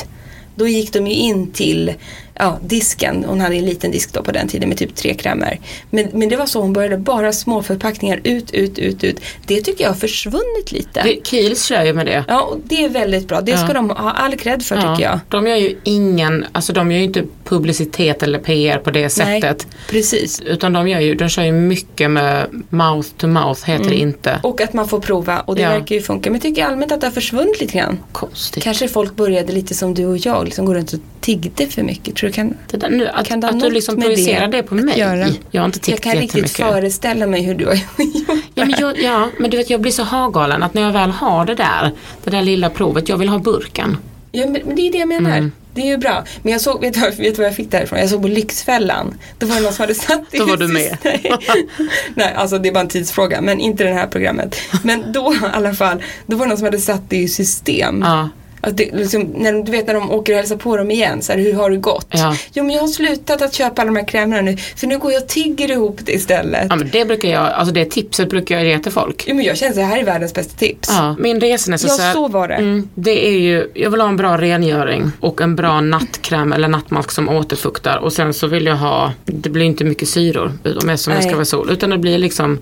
då gick de ju in till ja, disken, hon hade en liten disk då på den tiden med typ tre krämer. Men, men det var så hon började, bara små förpackningar ut, ut, ut, ut. Det tycker jag har försvunnit lite.
Det, Kiehls kör ju med det.
Ja, och det är väldigt bra. Det ska de ha all cred för tycker jag.
De gör ju ingen, alltså de gör ju inte publicitet eller PR på det sättet.
Nej, precis.
Utan de, gör ju, de kör ju mycket med mouth to mouth heter det inte.
Mm. Och att man får prova och det
Ja.
verkar ju funka. Men jag tycker allmänt att det har försvunnit lite grann.
Konstigt.
Kanske folk började lite som du och jag, liksom går runt och tiggde för mycket. Tror du kan,
Det där, nu, att,
kan det ha
att du
något
liksom
med
projicerar det, på
att
mig.
göra?
Jag har inte
Jag
tickt
kan riktigt
jättemycket.
föreställa mig hur du har [LAUGHS] gjort.
Ja men, jag, ja men du vet jag blir så hagalen att när jag väl har det där, det där lilla provet, jag vill ha burken.
Ja, men, men det är det jag menar.
Mm.
Det är ju bra. Men jag såg, vet du, vet du vad jag fick därifrån? Jag såg på Lyxfällan. Då var det någon som hade satt
Då var du
precis- Nej.
[LAUGHS]
Nej, alltså det är bara en tidsfråga. Men inte det här programmet. Men då i alla fall, då var det någon som hade satt det i system.
Ja.
Att det, liksom, när, de- du vet när de åker och hälsar på dem igen, så här, hur har det gått?
Ja.
Jo men jag har slutat att köpa alla de här krämerna nu, för nu går jag och tigger ihop det istället.
Ja, men det brukar jag, alltså det tipset brukar jag ge till folk.
Jo men jag känner så här, här är världens bästa tips.
Ja, min
Ja,
resenässar.
så var det.
Mm, det är ju, jag vill ha en bra rengöring och en bra nattkräm eller nattmask som återfuktar och sen så vill jag ha, det blir inte mycket syror om jag som det ska
Nej.
vara sol, utan det blir liksom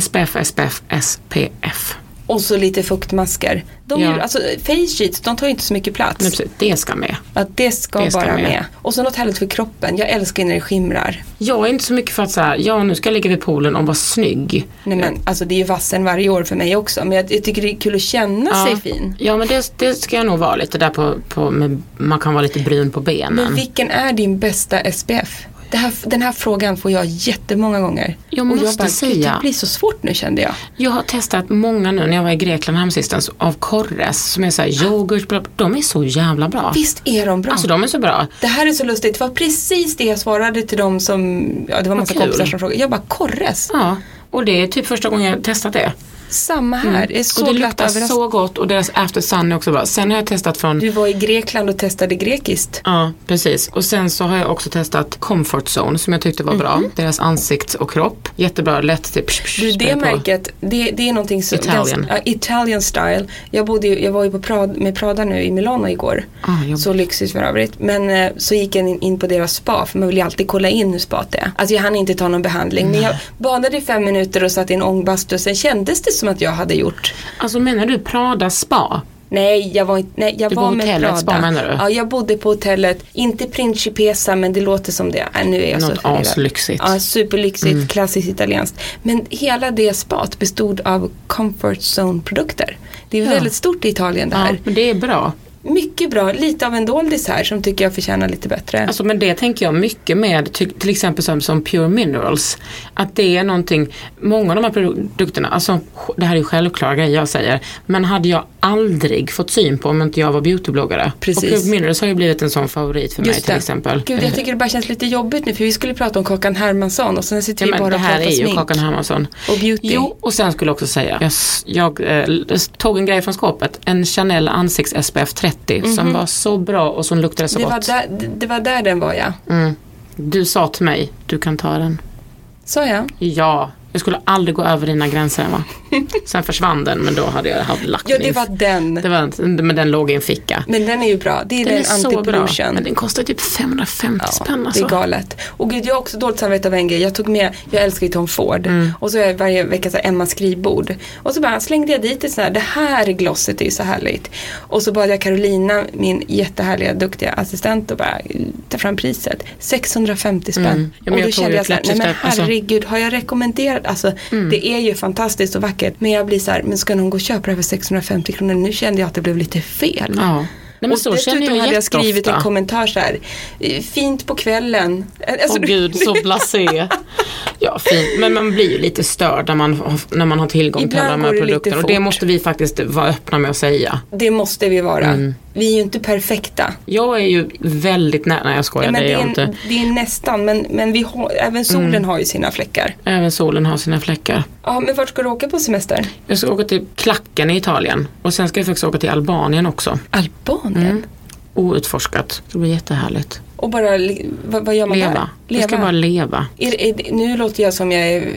SPF, SPF, SPF.
Och så lite fuktmasker. De
Ja.
gör, alltså, face sheets, de tar ju inte så mycket plats.
Men precis, det ska med.
Att det ska,
Det ska
vara
med.
med. Och så något härligt för kroppen. Jag älskar ju när det skimrar.
Jag är inte så mycket för att säga, ja nu ska jag ligga vid poolen och vara snygg.
Nej men alltså det är ju vassen varje år för mig också. Men jag, jag tycker det är kul att känna sig fin.
Ja men det, det ska jag nog vara lite där på, på med, man kan vara lite brun på benen.
Men vilken är din bästa SPF? Det här, den här frågan får jag jättemånga gånger.
Jag måste
och jag bara,
säga-
"Gud, Det blir så svårt nu kände jag.
Jag har testat många nu när jag var i Grekland häromsistens av Korres som är såhär yoghurt, bla, bla. de är så jävla bra.
Visst är de bra?
Alltså de är så bra.
Det här är så lustigt. Det var precis det jag svarade till de som, ja det var en massa
kul.
kompisar som frågade. Jag bara, korres?
Ja, och det är typ första gången jag testat det.
Samma här. Det är så
Mm. och det
glatt
luktar
överraskning.
så gott och deras after sun är också bra. Sen har jag testat från,
Du var i Grekland och testade grekiskt.
ja precis, och sen så har jag också testat comfort zone som jag tyckte var bra. Deras ansikts och kropp, jättebra, lätt typ psh, psh,
Du, Mm-hmm. det
spray på.
märket, det, det är någonting som...
Italian.
ganska- ja, Italian style. Jag, bodde, ju- jag var ju på Prada, med Prada nu i Milano igår.
Ah, jobbigt.
så lyxigt för övrigt. Men eh, så gick jag in, in på deras spa, för man vill ju alltid kolla in hur spat är. Alltså jag hann inte ta någon behandling, men jag badade i fem minuter och satt i en ångbastu. Sen kändes det som att jag hade gjort
Alltså menar du Prada spa?
Nej, jag var, inte, nej, jag
Du
var
på
med
hotellet,
Prada.
spa, menar du?
Ja, jag bodde på hotellet. Inte Principessa, men det låter som det. Äh, nu är jag
Något
så förvirrad.
aslyxigt. Mm.
Ja, superlyxigt, klassiskt italienskt. Men hela det spat bestod av comfort zone-produkter. Det är väldigt stort i Italien det
Ja,
här.
men det är bra.
Mycket bra, lite av en doldis här som tycker jag förtjänar lite bättre.
Alltså men det tänker jag mycket med ty- till exempel som, som Pure Minerals. Att det är någonting, många av de här produkterna, alltså sj- det här är ju självklara grejer jag säger, men hade jag aldrig fått syn på om inte jag var beautybloggare.
Precis.
Och Pure Minerals har ju blivit en sån favorit för mig
Just
till
det.
exempel.
Gud, jag tycker det bara känns lite jobbigt nu för vi skulle prata om Kakan Hermansson och sen sitter
Ja,
vi
men
bara
det
och
här
pratar
är ju
smink.
Kakan Hermansson.
Och beauty.
Jo, och sen skulle jag också säga, jag, s- jag eh, s- tog en grej från skåpet, en Chanel ansikts SPF 30 som var så bra och som luktade så
Mhm. Det var,
gott. Mm.
där, det- det var där den var ja.
Du sa till mig, du kan ta den.
Sa jag?
Ja, jag skulle aldrig gå över dina gränser Emma. Sen försvann den men då hade jag haft lagt
Ja,
den i
det
en
var
f-
den.
det var inte- Men den låg i en ficka.
Men den är ju bra. Det är
Den
den,
är så bra.
anti-pollution.
Men den kostar typ 550 spänn
Det är
alltså.
galet. Och gud, jag har också dåligt samvete av en grej. Jag tog med, jag älskar ju Tom Ford.
Mm.
Och så är jag varje vecka så här, Emmas skrivbord. Och så bara slängde jag dit ett sånt här, det här glosset är ju så härligt. Och så bad jag Carolina, min jättehärliga duktiga assistent, att bara ta fram priset. 650 spänn.
Mm. Ja, men
och
jag
då
tror
kände
ju
jag så här,
knappt
nej men
efter- alltså- Mm.
herregud, har jag rekommenderat? Alltså det är ju fantastiskt och vackert. Men jag blir så här, men ska någon gå och köpa det här för 650 kronor? Nu kände jag att det blev lite fel.
Ja. Nej, men
och
så
dessutom
känner jag
hade jag
jätteofta.
skrivit en kommentar så här, eh, fint på kvällen. Eh,
Åh
alltså, du- [LAUGHS]
gud, så blasé. Ja, fint. Men man blir ju lite störd när man, har- när man har tillgång till
Ibland
alla de
går
här
det lite
produkterna. Och det
fort.
måste vi faktiskt vara öppna med att säga.
Det måste vi vara.
Mm.
Vi är ju inte perfekta.
Jag är ju väldigt nära, nej jag skojar,
men
det är
det,
jag
är,
inte. Mm.
en- det är nästan, men, men vi har, även solen har ju sina fläckar.
Även solen har sina fläckar.
Ja, men vart ska du åka på semester?
Jag ska åka till Klacken i Italien och sen ska jag faktiskt åka till Albanien också.
Albanien?
Mm. Outforskat. Det blir jättehärligt.
Och bara, li- vad, vad gör man där?
Leva. Jag ska bara leva.
Är, är, det- nu låter jag som jag är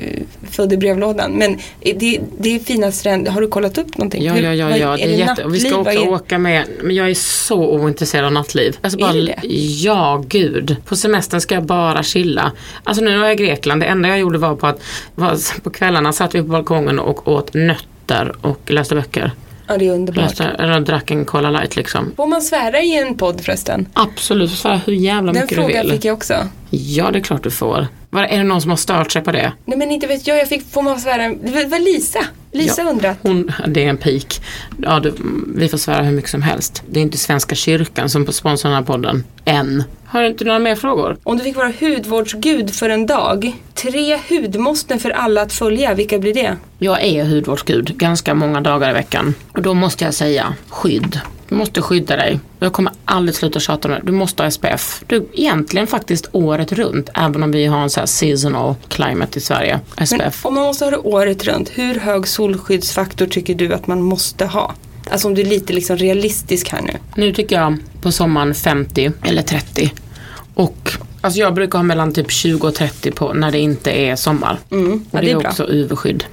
född i brevlådan, men är det, det är fina stränder. Har du kollat upp någonting?
Ja,
Hur-
ja, ja,
vad-
ja. Det är jätte...
nattliv?
Vi ska
Vad
också
är-
åka med, men jag är så ointresserad av nattliv. Alltså bara,
Är du det?
Ja, gud. På semestern ska jag bara chilla. Alltså nu var jag i Grekland, det enda jag gjorde var på att var, på kvällarna satt vi på balkongen och åt nötter och läste böcker.
Ja, det är underbart.
Läste, eller drack en Cola light liksom.
Får man svära i en podd förresten?
Absolut, svär hur jävla
Den
mycket du vill.
frågan fick jag också.
Ja, det är klart du får. Var, är det någon som har stört sig på det?
Nej men inte vet jag, jag fick, får man svära, det var- det var Lisa. Lisa
Ja,
undrat.
Hon, det är en pik. Ja, du, vi får svära hur mycket som helst. Det är inte Svenska kyrkan som sponsrar den här podden. Än. Har du inte några mer frågor?
Om du fick vara hudvårdsgud för en dag, tre hudmåsten för alla att följa, vilka blir det?
Jag är hudvårdsgud ganska många dagar i veckan. Och då måste jag säga skydd. Du måste skydda dig. Och Jag kommer aldrig sluta tjata om det. Du måste ha SPF. Du, egentligen faktiskt året runt. Även om vi har en så här seasonal climate i Sverige.
Men
SPF.
om man måste ha det året runt, hur hög solskyddsfaktor tycker du att man måste ha? Alltså om du är lite liksom realistisk här nu.
Nu tycker jag på sommaren 50 eller 30. Och alltså jag brukar ha mellan typ 20 och 30 på när det inte är sommar.
Mm, ja,
Och
det är
det är
bra.
också UV-skydd.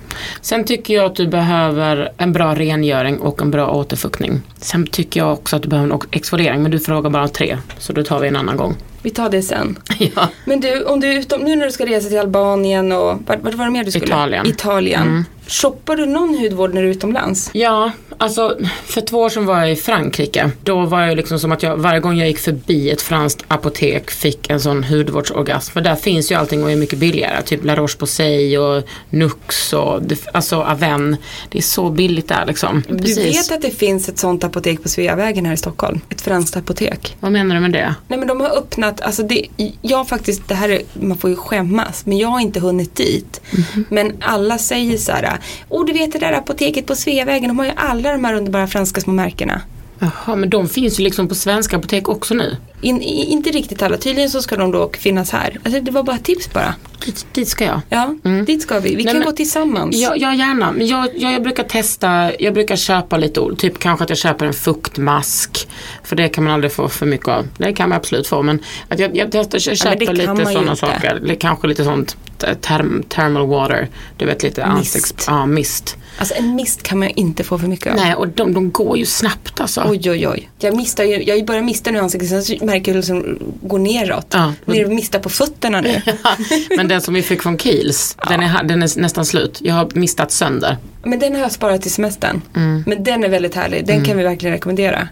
Sen tycker jag att du behöver en bra rengöring och en bra återfuktning. Sen tycker jag också att du behöver en o- exfoliering men du frågar bara om tre. Så då tar vi en annan
[LAUGHS]
gång.
Vi tar det sen.
ja.
Men du, om du är utom, nu när du ska resa till Albanien och vart, vart var det mer du skulle?
Italien. Mm.
Italien. Shoppar du någon hudvård när du är utomlands?
Ja, alltså för två år sedan var jag i Frankrike. Då var jag liksom som att jag varje gång jag gick förbi ett franskt apotek fick en sån hudvårdsorgasm. För där finns ju allting och är mycket billigare. Typ La Roche-Posay och Nux och det- alltså Aven. Det är så billigt där liksom.
Du vet att det finns ett sånt apotek på Sveavägen här i Stockholm? Ett franskt apotek.
Vad menar du med det?
Nej men de har öppnat, alltså det, jag faktiskt, det här är, man får ju skämmas, men jag har inte hunnit dit.
Mhm.
Men alla säger så här, åh du vet det där apoteket på Sveavägen, de har ju alla de här underbara franska små märkena.
Jaha, men de finns ju liksom på svenska apotek också nu.
In, i- inte riktigt alla, tydligen så ska de dock finnas här. Alltså det var bara tips bara.
Dit, dit ska jag.
Ja, dit ska vi. Vi
Mm. Nej,
kan
men-
gå tillsammans.
Ja, ja gärna. Men jag, jag, jag brukar testa, jag brukar köpa lite ol- Typ kanske att jag köper en fuktmask. För det kan man aldrig få för mycket av. Det kan man absolut få men att jag, jag testar, jag
Ja, men det
köper
kan man
lite
ju
sådana
inte.
saker. Eller Kanske lite sånt eh, term, thermal water. Du vet lite ansikts... Ja, mist.
Alltså en mist kan man ju inte få för mycket av.
Nej, och de, de går ju snabbt alltså.
Oj oj oj. Ah. Jag, mistar ju, jag börjar mista nu i ansiktet, sen så märker jag hur det liksom går neråt.
Ja.
Ner och mista på
[LAUGHS]
fötterna nu.
[LAUGHS] men den som vi fick från Kiehl's, den, är, den är nästan slut. Jag har mistat sönder.
Men den har jag sparat till semestern.
Mm.
Men den är väldigt härlig, den kan vi verkligen rekommendera.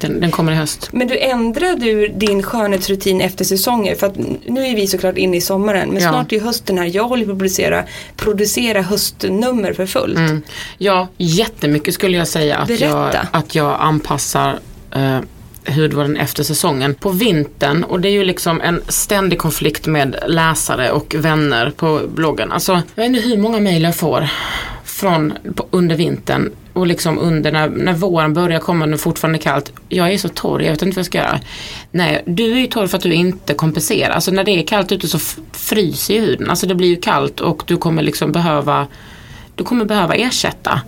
Den, den kommer i höst.
Men du ändrar du din skönhetsrutin efter säsonger? För att nu är vi såklart inne i sommaren men
Ja.
snart är ju hösten här. Jag håller på att producera, producera höstnummer för fullt.
Mm. Ja, jättemycket skulle jag säga att, jag,
Berätta.
att jag anpassar eh, hudvården efter säsongen. På vintern, och det är ju liksom en ständig konflikt med läsare och vänner på bloggen. Alltså, jag vet inte hur många mejl jag får från, på, under vintern och liksom under när, när våren börjar komma, när det fortfarande är kallt. Jag är så torr, jag vet inte vad jag ska göra. Nej, du är ju torr för att du inte kompenserar. Alltså när det är kallt ute så f- fryser ju huden. Alltså det blir ju kallt och du kommer liksom behöva du kommer behöva ersätta.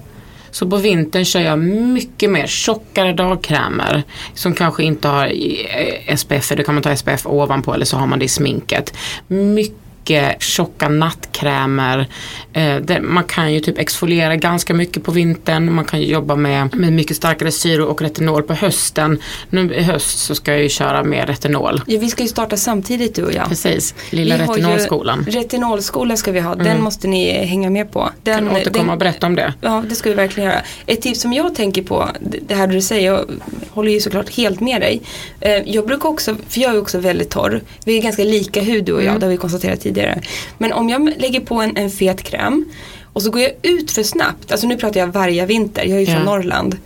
Så på vintern kör jag mycket mer tjockare dagkrämer som kanske inte har eh, SPF, för då kan man ta SPF ovanpå eller så har man det i sminket. Mycket tjocka nattkrämer. Eh, där man kan ju typ exfoliera ganska mycket på vintern. Man kan ju jobba med, med mycket starkare syror och retinol på hösten. Nu i höst så ska jag ju köra mer retinol.
Ja, vi ska ju starta samtidigt du och jag.
Precis, lilla
Vi har ju-
retinolskolan. Mm.
Retinolskola ska vi ha, den måste ni hänga med på. Den,
Kan återkomma och berätta om det.
Ja, det ska vi verkligen göra. Ett tips som jag tänker på, det det här du säger, jag håller ju såklart helt med dig. Eh, Jag brukar också, för jag är också väldigt torr, vi är ganska lika hud du och jag,
Mm.
det har vi konstaterat tidigare. Men om jag lägger på en, en fet kräm och så går jag ut för snabbt, alltså nu pratar jag varje vinter, jag är ju
Ja.
från Norrland.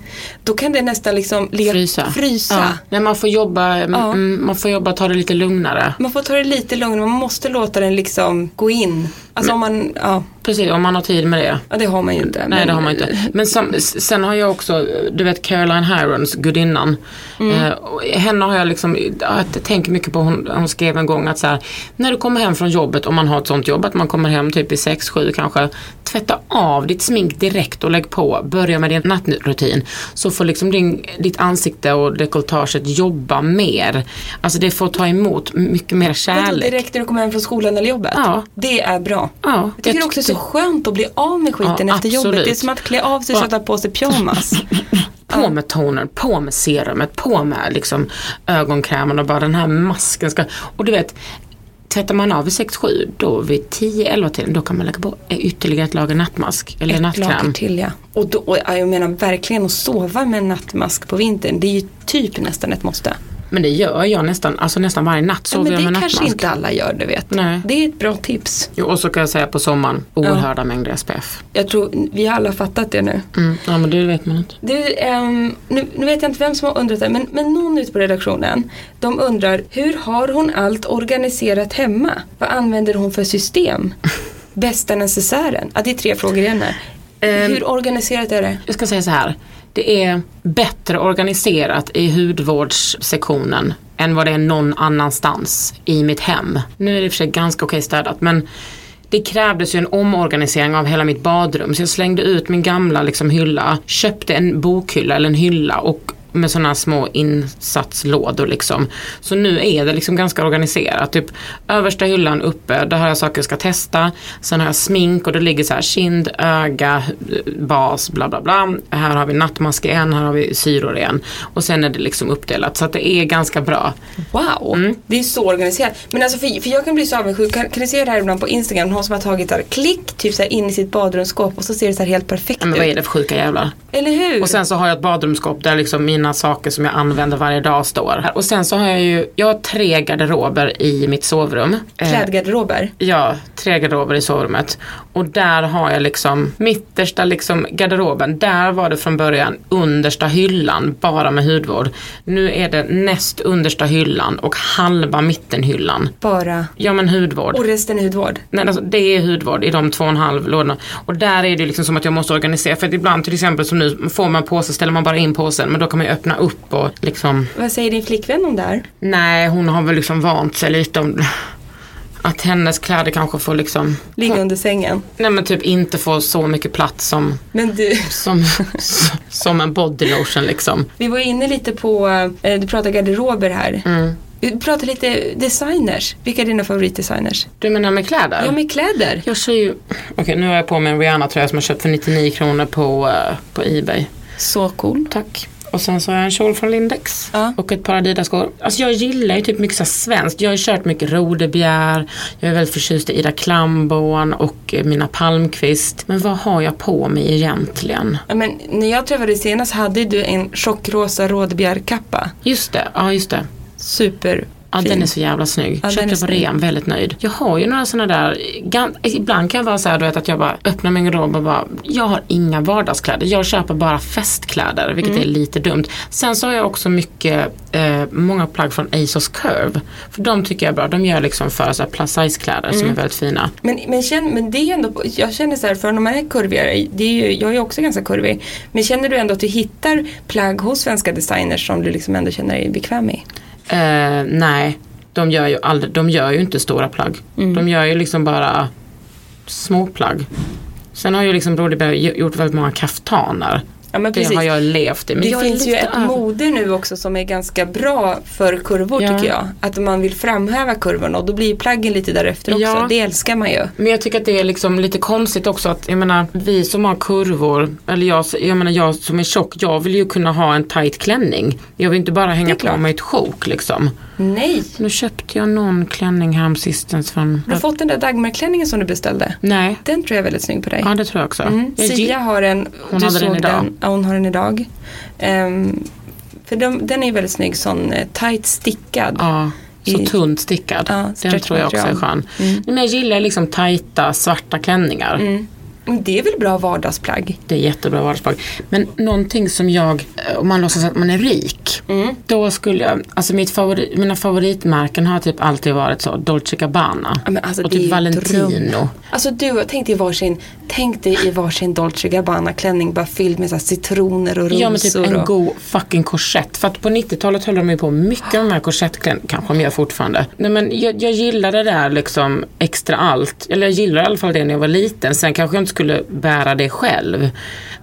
Då kan det nästan liksom ligga-
Frysa.
frysa.
Ja. Nej, man får jobba, mm,
Ja.
mm, man får jobba, ta det lite lugnare.
Man får ta det lite lugnare, man måste låta den liksom gå in. Alltså om man, ja,
Precis, om man har tid med det.
ja det har man ju inte.
Nej
men-
det har man inte. Men som, sen har jag också, du vet Caroline Hirons, gudinnan.
Mm.
Eh, och henne har jag liksom, jag tänker mycket på, hon, hon skrev en gång att så här, när du kommer hem från jobbet, om man har ett sånt jobb, att man kommer hem typ i 6-7 kanske, tvätta av ditt smink direkt och lägg på, börja med din nattrutin. Så får liksom din, ditt ansikte och dekolletaget jobba mer. Alltså det får ta emot mycket mer
Vadå,
kärlek.
direkt när du kommer hem från skolan eller jobbet?
Ja.
Det är bra.
Ja,
jag tycker
jag
också det är så
tyckte-
skönt att bli av med skiten
Ja,
efter
absolut.
jobbet. Det är som att klä av sig och
Ja.
sätta på sig pyjamas.
På [LAUGHS] med toner, på med serumet, på med liksom ögonkrämen och bara den här masken ska... Och du vet, tvättar man av vid 6-7 då vid 10-11 tiden då kan man lägga på ytterligare ett lager nattmask eller
Ett lager
nattkräm.
till ja. Och då, och jag menar verkligen att sova med en nattmask på vintern. Det är ju typ nästan ett måste.
Men det gör jag nästan, alltså nästan varje natt
Ja,
sover
men
jag med
det kanske
nattmask.
inte alla gör du vet.
Nej.
Det är ett bra tips.
Jo, och så kan jag säga på sommaren, oerhörda mängder SPF.
Jag tror vi har alla fattat det nu.
Mm. Ja men det vet man inte.
Du, ehm, nu, nu vet jag inte vem som har undrat det men, men någon ute på redaktionen de undrar hur har hon allt organiserat hemma? Vad använder hon
[LAUGHS]
för system?
Ehm.
Bästa necessären? Ja, det är tre frågor igen här. hur organiserat är det?
Jag ska säga så här. Det är bättre organiserat i hudvårdssektionen än vad det är någon annanstans i mitt hem. Nu är det i och för sig ganska okej städat men det krävdes ju en omorganisering av hela mitt badrum så jag slängde ut min gamla liksom hylla, köpte en bokhylla eller en hylla och med sådana små insatslådor liksom. Så nu är det liksom ganska organiserat. Typ översta hyllan uppe, där har jag saker jag ska testa. Sen har jag smink och det ligger så här kind, öga, bas, bla bla bla. Här har vi nattmask igen, här har vi syror igen. Och sen är det liksom uppdelat så att det är ganska bra.
Wow,
Mm.
det är så organiserat. Men alltså för, för jag kan bli så avundsjuk. Kan, kan ni se det här ibland på Instagram? Någon som har tagit där, klick typ så här in i sitt badrumsskåp och så ser det så här helt perfekt
Men vad är
ut.
det för sjuka jävlar?
Eller hur?
Och sen så har jag ett badrumsskåp där liksom mina saker som jag använder varje dag står. Och sen så har jag ju, jag har tre garderober i mitt sovrum. Eh,
Klädgarderober.
Ja, tre garderober i sovrummet. Och där har jag liksom mittersta liksom garderoben, där var det från början understa hyllan bara med hudvård. Nu är det näst understa hyllan och halva mittenhyllan.
Bara.
Ja men hudvård.
Och resten är hudvård.
Nej, alltså, det är hudvård i de två och en halv lådorna. Och där är det ju liksom som att jag måste organisera. För att ibland till exempel som nu, får man påse ställer man bara in påsen. Men då kan man ju öppna upp och liksom.
Vad säger din flickvän om det här?
Nej, hon har väl liksom vant sig lite om att hennes kläder kanske får liksom.
Ligga under sängen.
Nej men typ inte få så mycket plats som,
Men du,
som, [LAUGHS] som en body lotion liksom.
vi var inne lite på, eh, du pratar garderober här.
Mm.
Vi pratar lite designers. Vilka är dina favoritdesigners?
Du menar med kläder?
Ja, med kläder.
Jag kör ju, okej nu har jag på mig en Rihanna-tröja som jag köpt för 99 kronor på, eh, på Ebay.
Så cool.
Tack. Och sen så har jag en kjol från Lindex
Ja.
och ett par Adidas-skor. Alltså jag gillar ju typ mycket så här svenskt. Jag har ju kört mycket Rodebjer, jag är väldigt förtjust i Ida Klamborn och eh, mina Palmqvist. Men vad har jag på mig egentligen?
Ja, men när jag träffade dig senast hade du en tjockrosa rådbjärkappa.
Just det, ja just det.
Superfin.
Ja den är så jävla snygg.
Ja, den
Köpte
är
på
snygg.
rean, väldigt nöjd. Jag har ju några sådana där, gan- ibland kan jag vara så här du vet att jag bara öppnar min garderob och bara, jag har inga vardagskläder. Jag köper bara festkläder vilket
Mm.
är lite dumt. Sen så har jag också mycket, eh, många plagg från ASOS Curve. För de tycker jag är bra, de gör liksom för så här plus size kläder
Mm.
som är väldigt fina.
Men, men, känn, men det är ändå, jag känner så här, för när man är kurvigare, det är ju, jag är ju också ganska kurvig, men känner du ändå att du hittar plagg hos svenska designers som du liksom ändå känner dig bekväm i?
Eh, nej, de gör, ju aldrig, de gör ju inte stora plagg.
Mm.
De gör ju liksom bara små plagg. Sen har ju liksom Broderberg gjort väldigt många kaftaner.
Ja, men
Det har jag levt i. Men
det
jag är
finns ju
lite
ett
över-
mode nu också som är ganska bra för kurvor
Ja.
tycker jag. Att man vill framhäva kurvorna och då blir ju plaggen lite därefter också.
Ja.
Det älskar man ju.
Men jag tycker att det är liksom lite konstigt också att jag menar vi som har kurvor, eller jag, jag menar jag som är tjock, jag vill ju kunna ha en tight klänning. Jag vill inte bara hänga på mig ett sjok liksom.
Nej,
Nu köpte jag någon klänning häromsistens från...
har du fått den där Dagmarklänningen som du beställde?
Nej,
Den tror jag är väldigt snygg på dig. Mm.
ja det tror jag också. Jag gill-
Sia har en,
Hon
du
hade den
såg
idag.
den, ja, hon har den idag. Ehm, för de, den är ju väldigt snygg, sån eh, tight stickad.
Ja, så
I-
tunt stickad.
Ja,
den tror jag också är
stretchmaterial. Mm.
skön. Nej, Men jag gillar liksom tajta svarta klänningar.
Men Det är väl bra vardagsplagg?
Det är jättebra vardagsplagg. Men någonting som jag, eh, om man låtsas att man är rik,
Mm.
då skulle jag, alltså mitt favori, mina favoritmärken har typ alltid varit så, Dolce Gabbana
Ja, men alltså,
och
det är
typ
ju
Valentino.
dröm. Alltså du, tänk dig i varsin, tänk dig i varsin Dolce Gabbana klänning bara fylld med så här citroner och rosor.
Ja men typ en
och,
god fucking korsett. För att på 90-talet höll de ju på mycket med de här korsettklänningarna, kanske de gör fortfarande. Nej men jag, jag gillar det där liksom extra allt. Eller jag gillar i alla fall det när jag var liten. Sen kanske jag inte skulle bära det själv.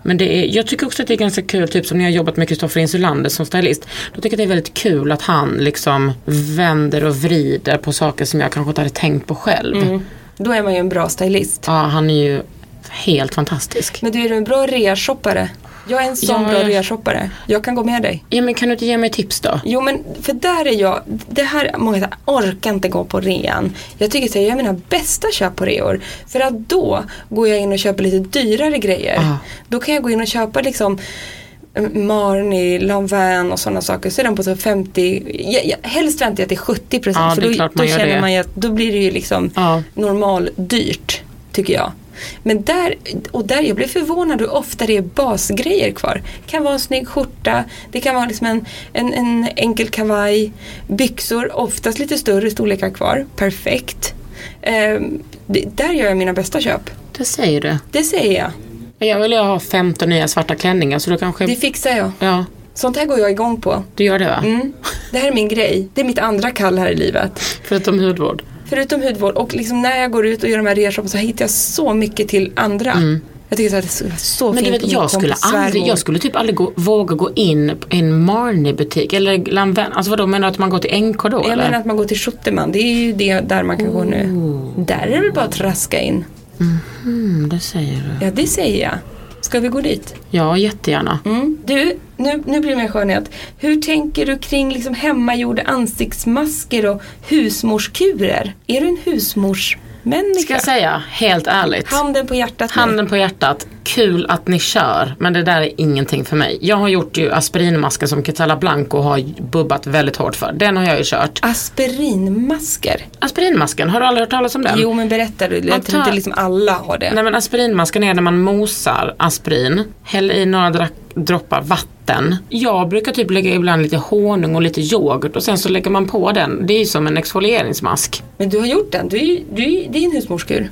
Men det är, jag tycker också att det är ganska kul, typ som när jag har jobbat med Kristoffer Insulander som stylist. Då tycker jag att det är väldigt kul att han liksom vänder och vrider på saker som jag kanske inte hade tänkt på själv.
Mm. Då är man ju en bra stylist.
Ja, han är ju helt fantastisk.
Men du är du en bra reashoppare? Jag är en sån
Ja,
bra
jag-
reashoppare. Jag kan gå med dig.
Ja men kan du inte ge mig tips då?
Jo men för där är jag, det här, många säger orkar inte gå på rean. Jag tycker att jag gör mina bästa köp på reor. För att då går jag in och köper lite dyrare grejer.
Ah.
Då kan jag gå in och köpa liksom eh, Marni, Lanvin och sådana saker. Så är de på så 50, jag, jag, helst väntar jag till 70 procent.
Ja,
för
det är
då,
klart man
då
gör
känner
det.
man ju att då blir det ju liksom
Ja.
normaldyrt tycker jag. Men där, och där, jag blev förvånad hur ofta det är basgrejer kvar. Det kan vara en snygg skjorta, det kan vara liksom en, en, en enkel kavaj, byxor, oftast lite större storlekar kvar. Perfekt. Ehm, det, där gör jag mina bästa köp.
Det säger du.
Det säger jag.
Men Jag vill ju ha 15 nya svarta klänningar så då kanske...
Det fixar jag.
Ja,
Sånt här går jag igång på.
du gör det va?
Mm. Det här är min grej. Det är mitt andra kall här i livet.
Förutom hudvård.
Förutom hudvård och liksom när jag går ut och gör de här resorna så hittar jag så mycket till andra. Jag tycker så här, det skulle vara så
Mm. Men du vet,
fint
jag
om min
skulle,
kompis
aldrig,
svärmor-
jag skulle typ aldrig gå, våga gå in på en Marni-butik eller Lanvin. Alltså vadå, menar du att man går till NK då
Jag
eller?
menar att man går till Schutterman, det är ju det där man kan gå nu. Där är det väl bara att traska in.
Mm, det säger du.
Ja, det säger jag. Ska vi gå dit?
Ja, jättegärna.
Mm. Du, nu, nu blir det mer skönhet. Hur tänker du kring liksom hemmagjorda ansiktsmasker och husmorskurer? Är du en husmorsmänniska?
Ska jag säga, helt ärligt.
Handen på hjärtat nu.
Handen på hjärtat, kul att ni kör men det där är ingenting för mig. Jag har gjort ju aspirinmasken som Catala Blanco har bubbat väldigt hårt för. Den har jag ju kört.
Aspirinmasker.
Aspirinmasken, har du aldrig hört talas om den?
Jo men berätta du,
Man
jag tror
tar-
inte liksom alla har det.
Nej men aspirinmasken är när man mosar aspirin, häller i några dra- droppar vatten. Jag brukar typ lägga ibland lite honung och lite yoghurt och sen så lägger man på den. Det är ju som en exfolieringsmask.
Men du har gjort den, du, är ju- du, är- det är en husmorskur.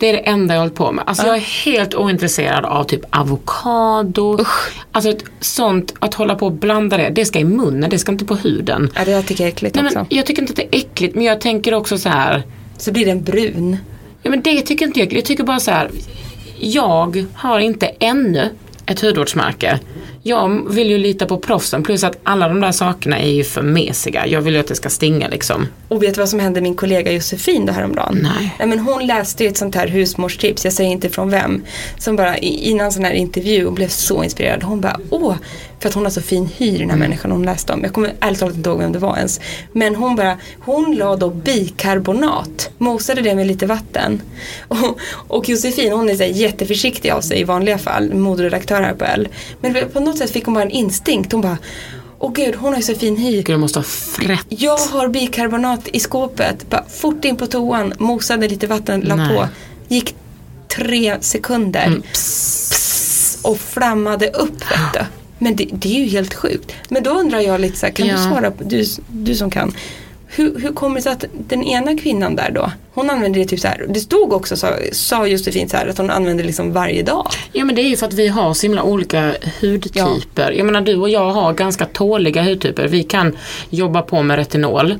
Det är det enda jag hållit på med. Alltså jag är helt ointresserad av typ avokado. Alltså ett sånt, att hålla på och blanda det, det ska i munnen, det ska inte på huden.
Ja, det där tycker jag är äckligt
Nej,
också.
men jag tycker inte att det är äckligt men jag tänker också så här.
Så blir den brun.
Ja men det tycker inte jag. Jag tycker bara så här. Jag har inte ännu ett hudvårdsmärke. Jag vill ju lita på proffsen plus att alla de där sakerna är ju för mesiga. Jag vill ju att det ska stinga liksom.
Och vet du vad som hände min kollega Josefin då häromdagen?
Nej.
Nej men hon läste ju ett sånt här husmorstips, jag säger inte från vem. Som bara i- innan sån här intervju, hon blev så inspirerad. Hon bara åh, för att hon har så fin hy den här människan hon läste om. Jag kommer ärligt talat inte ihåg vem det var ens. Men hon bara, hon la då bikarbonat, mosade det med lite vatten. [LAUGHS] Och, och Josefin hon är så här jätteförsiktig av sig i vanliga fall, moderedaktör här på L. Men på något sätt fick hon bara en instinkt, hon bara Åh gud, hon har ju så fin hy.
Gud, du måste ha frätt.
Jag har bikarbonat i skåpet. Bara fort in på toan, mosade lite vatten, la
Nej.
på. Gick tre sekunder. Pss, och flammade upp. Vet du. Men det, det är ju helt sjukt. Men då undrar jag lite så här, kan
Ja.
du svara, på, du, du som kan. Hur, hur kommer det sig att den ena kvinnan där då, hon använde det typ så här, det stod också sa, sa Josefin så här att hon använde det liksom varje dag.
Ja men det är ju för att vi har så himla olika hudtyper. Jag menar du och jag har ganska tåliga hudtyper. Vi kan jobba på med retinol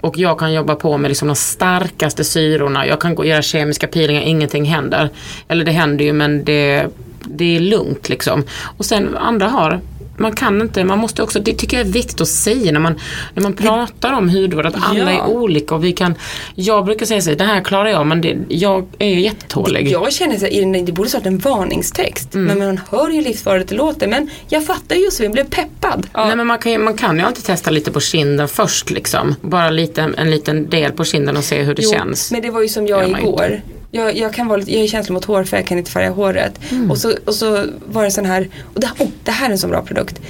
och jag kan jobba på med liksom de starkaste syrorna. Jag kan gå och göra kemiska peelingar, ingenting händer. Eller det händer ju men det, det är lugnt liksom. Och sen andra har man kan inte, man måste också, det tycker jag är viktigt att säga när man, när man pratar om hudvård att alla
Ja.
är olika och vi kan, jag brukar säga så här, det här klarar jag men det, jag är jättetålig.
Jag känner så här, i den där- det borde stått en varningstext. Men man hör ju livsfarligt det låter. Men jag fattar ju Josefin, blev peppad. Ja.
Nej men man kan, ju, man kan ju alltid testa lite på kinden först liksom. Bara lite, en liten del på kinden och se hur det
Jo,
känns.
Men det var ju som
Gör
jag
man
igår. Jag, jag, kan vara lite, jag är känslig mot hårfärg, jag kan inte färga håret.
Mm.
Och, så, och så var det sån här, och det, oh, det här är en så bra produkt.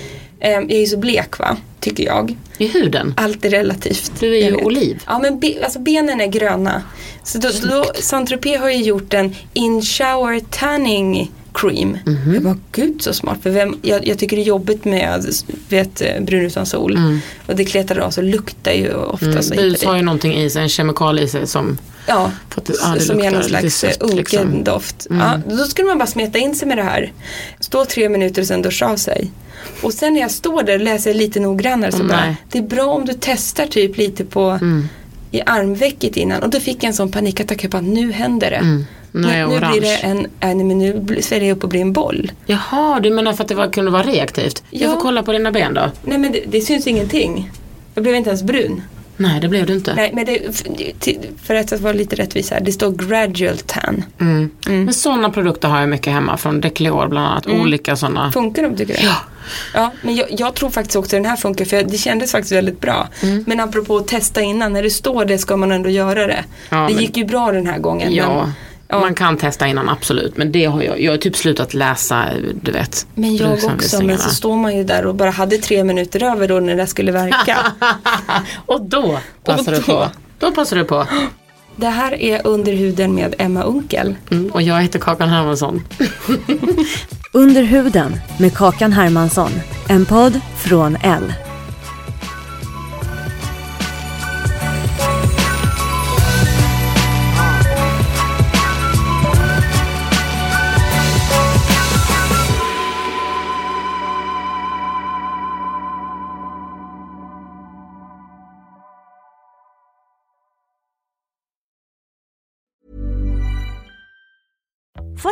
Ehm, jag är ju så blek va, tycker jag.
I huden?
Allt är relativt.
Du är
jag
ju
vet.
oliv.
Ja men be, alltså benen är gröna. Så då, då Saint-Tropez har ju gjort en in shower tanning cream.
Mhm.
Jag bara gud så smart. För vem, jag, jag tycker det är jobbigt med vet, brun utan sol. Och det kletar av så luktar ju ofta
Mm,
så
bus
hit och
har
dit.
ju någonting i sig, en kemikalie i sig som
Ja,
För att det- ja, det
som är
luktar
någon
lite
slags
sött,
unken
liksom.
doft. Ja, då skulle man bara smeta in sig med det här. Stå tre minuter och sen duscha av sig. Och sen när jag står där och läser lite noggrannare så
Mm,
bara,
nej. Mm.
det är bra om du testar typ lite på i armvecket innan. Och då fick jag en sån panikattack, jag bara, nu händer det.
Mm. Nu är jag
nu blir
orange.
det en, äh, nej, men nu blir- sväller jag upp och blir en boll.
Jaha, du menar för att det var, kunde vara reaktivt? Jag
Ja.
får kolla på dina ben då.
Nej men det, det syns ingenting. Jag blev inte ens brun.
Nej, det blev du inte.
Nej men det, för- till- för att vara lite rättvis här, det står gradual tan.
Mm. Men sådana produkter har jag mycket hemma, från Declior bland annat.
Mm.
Olika sådana.
Funkar de tycker du? Ja. ja men jag, jag tror faktiskt också den här funkar för det kändes faktiskt väldigt bra.
Mm.
Men apropå att testa innan, när det står det ska man ändå göra det.
Ja,
det
men-
gick ju bra den här gången.
Ja.
Men, ja.
Man kan testa innan absolut men det har jag, jag har typ slutat läsa du vet.
men jag också,
bruksanvisningarna.
men så står man ju där och bara hade tre minuter över då när det
[LAUGHS]
skulle verka.
och då passar du
då-
på. Då passar du på.
det här är Under huden med Emma Unkel.
Mm, och jag heter Kakan Hermansson.
Under huden med Kakan Hermansson. En podd från L.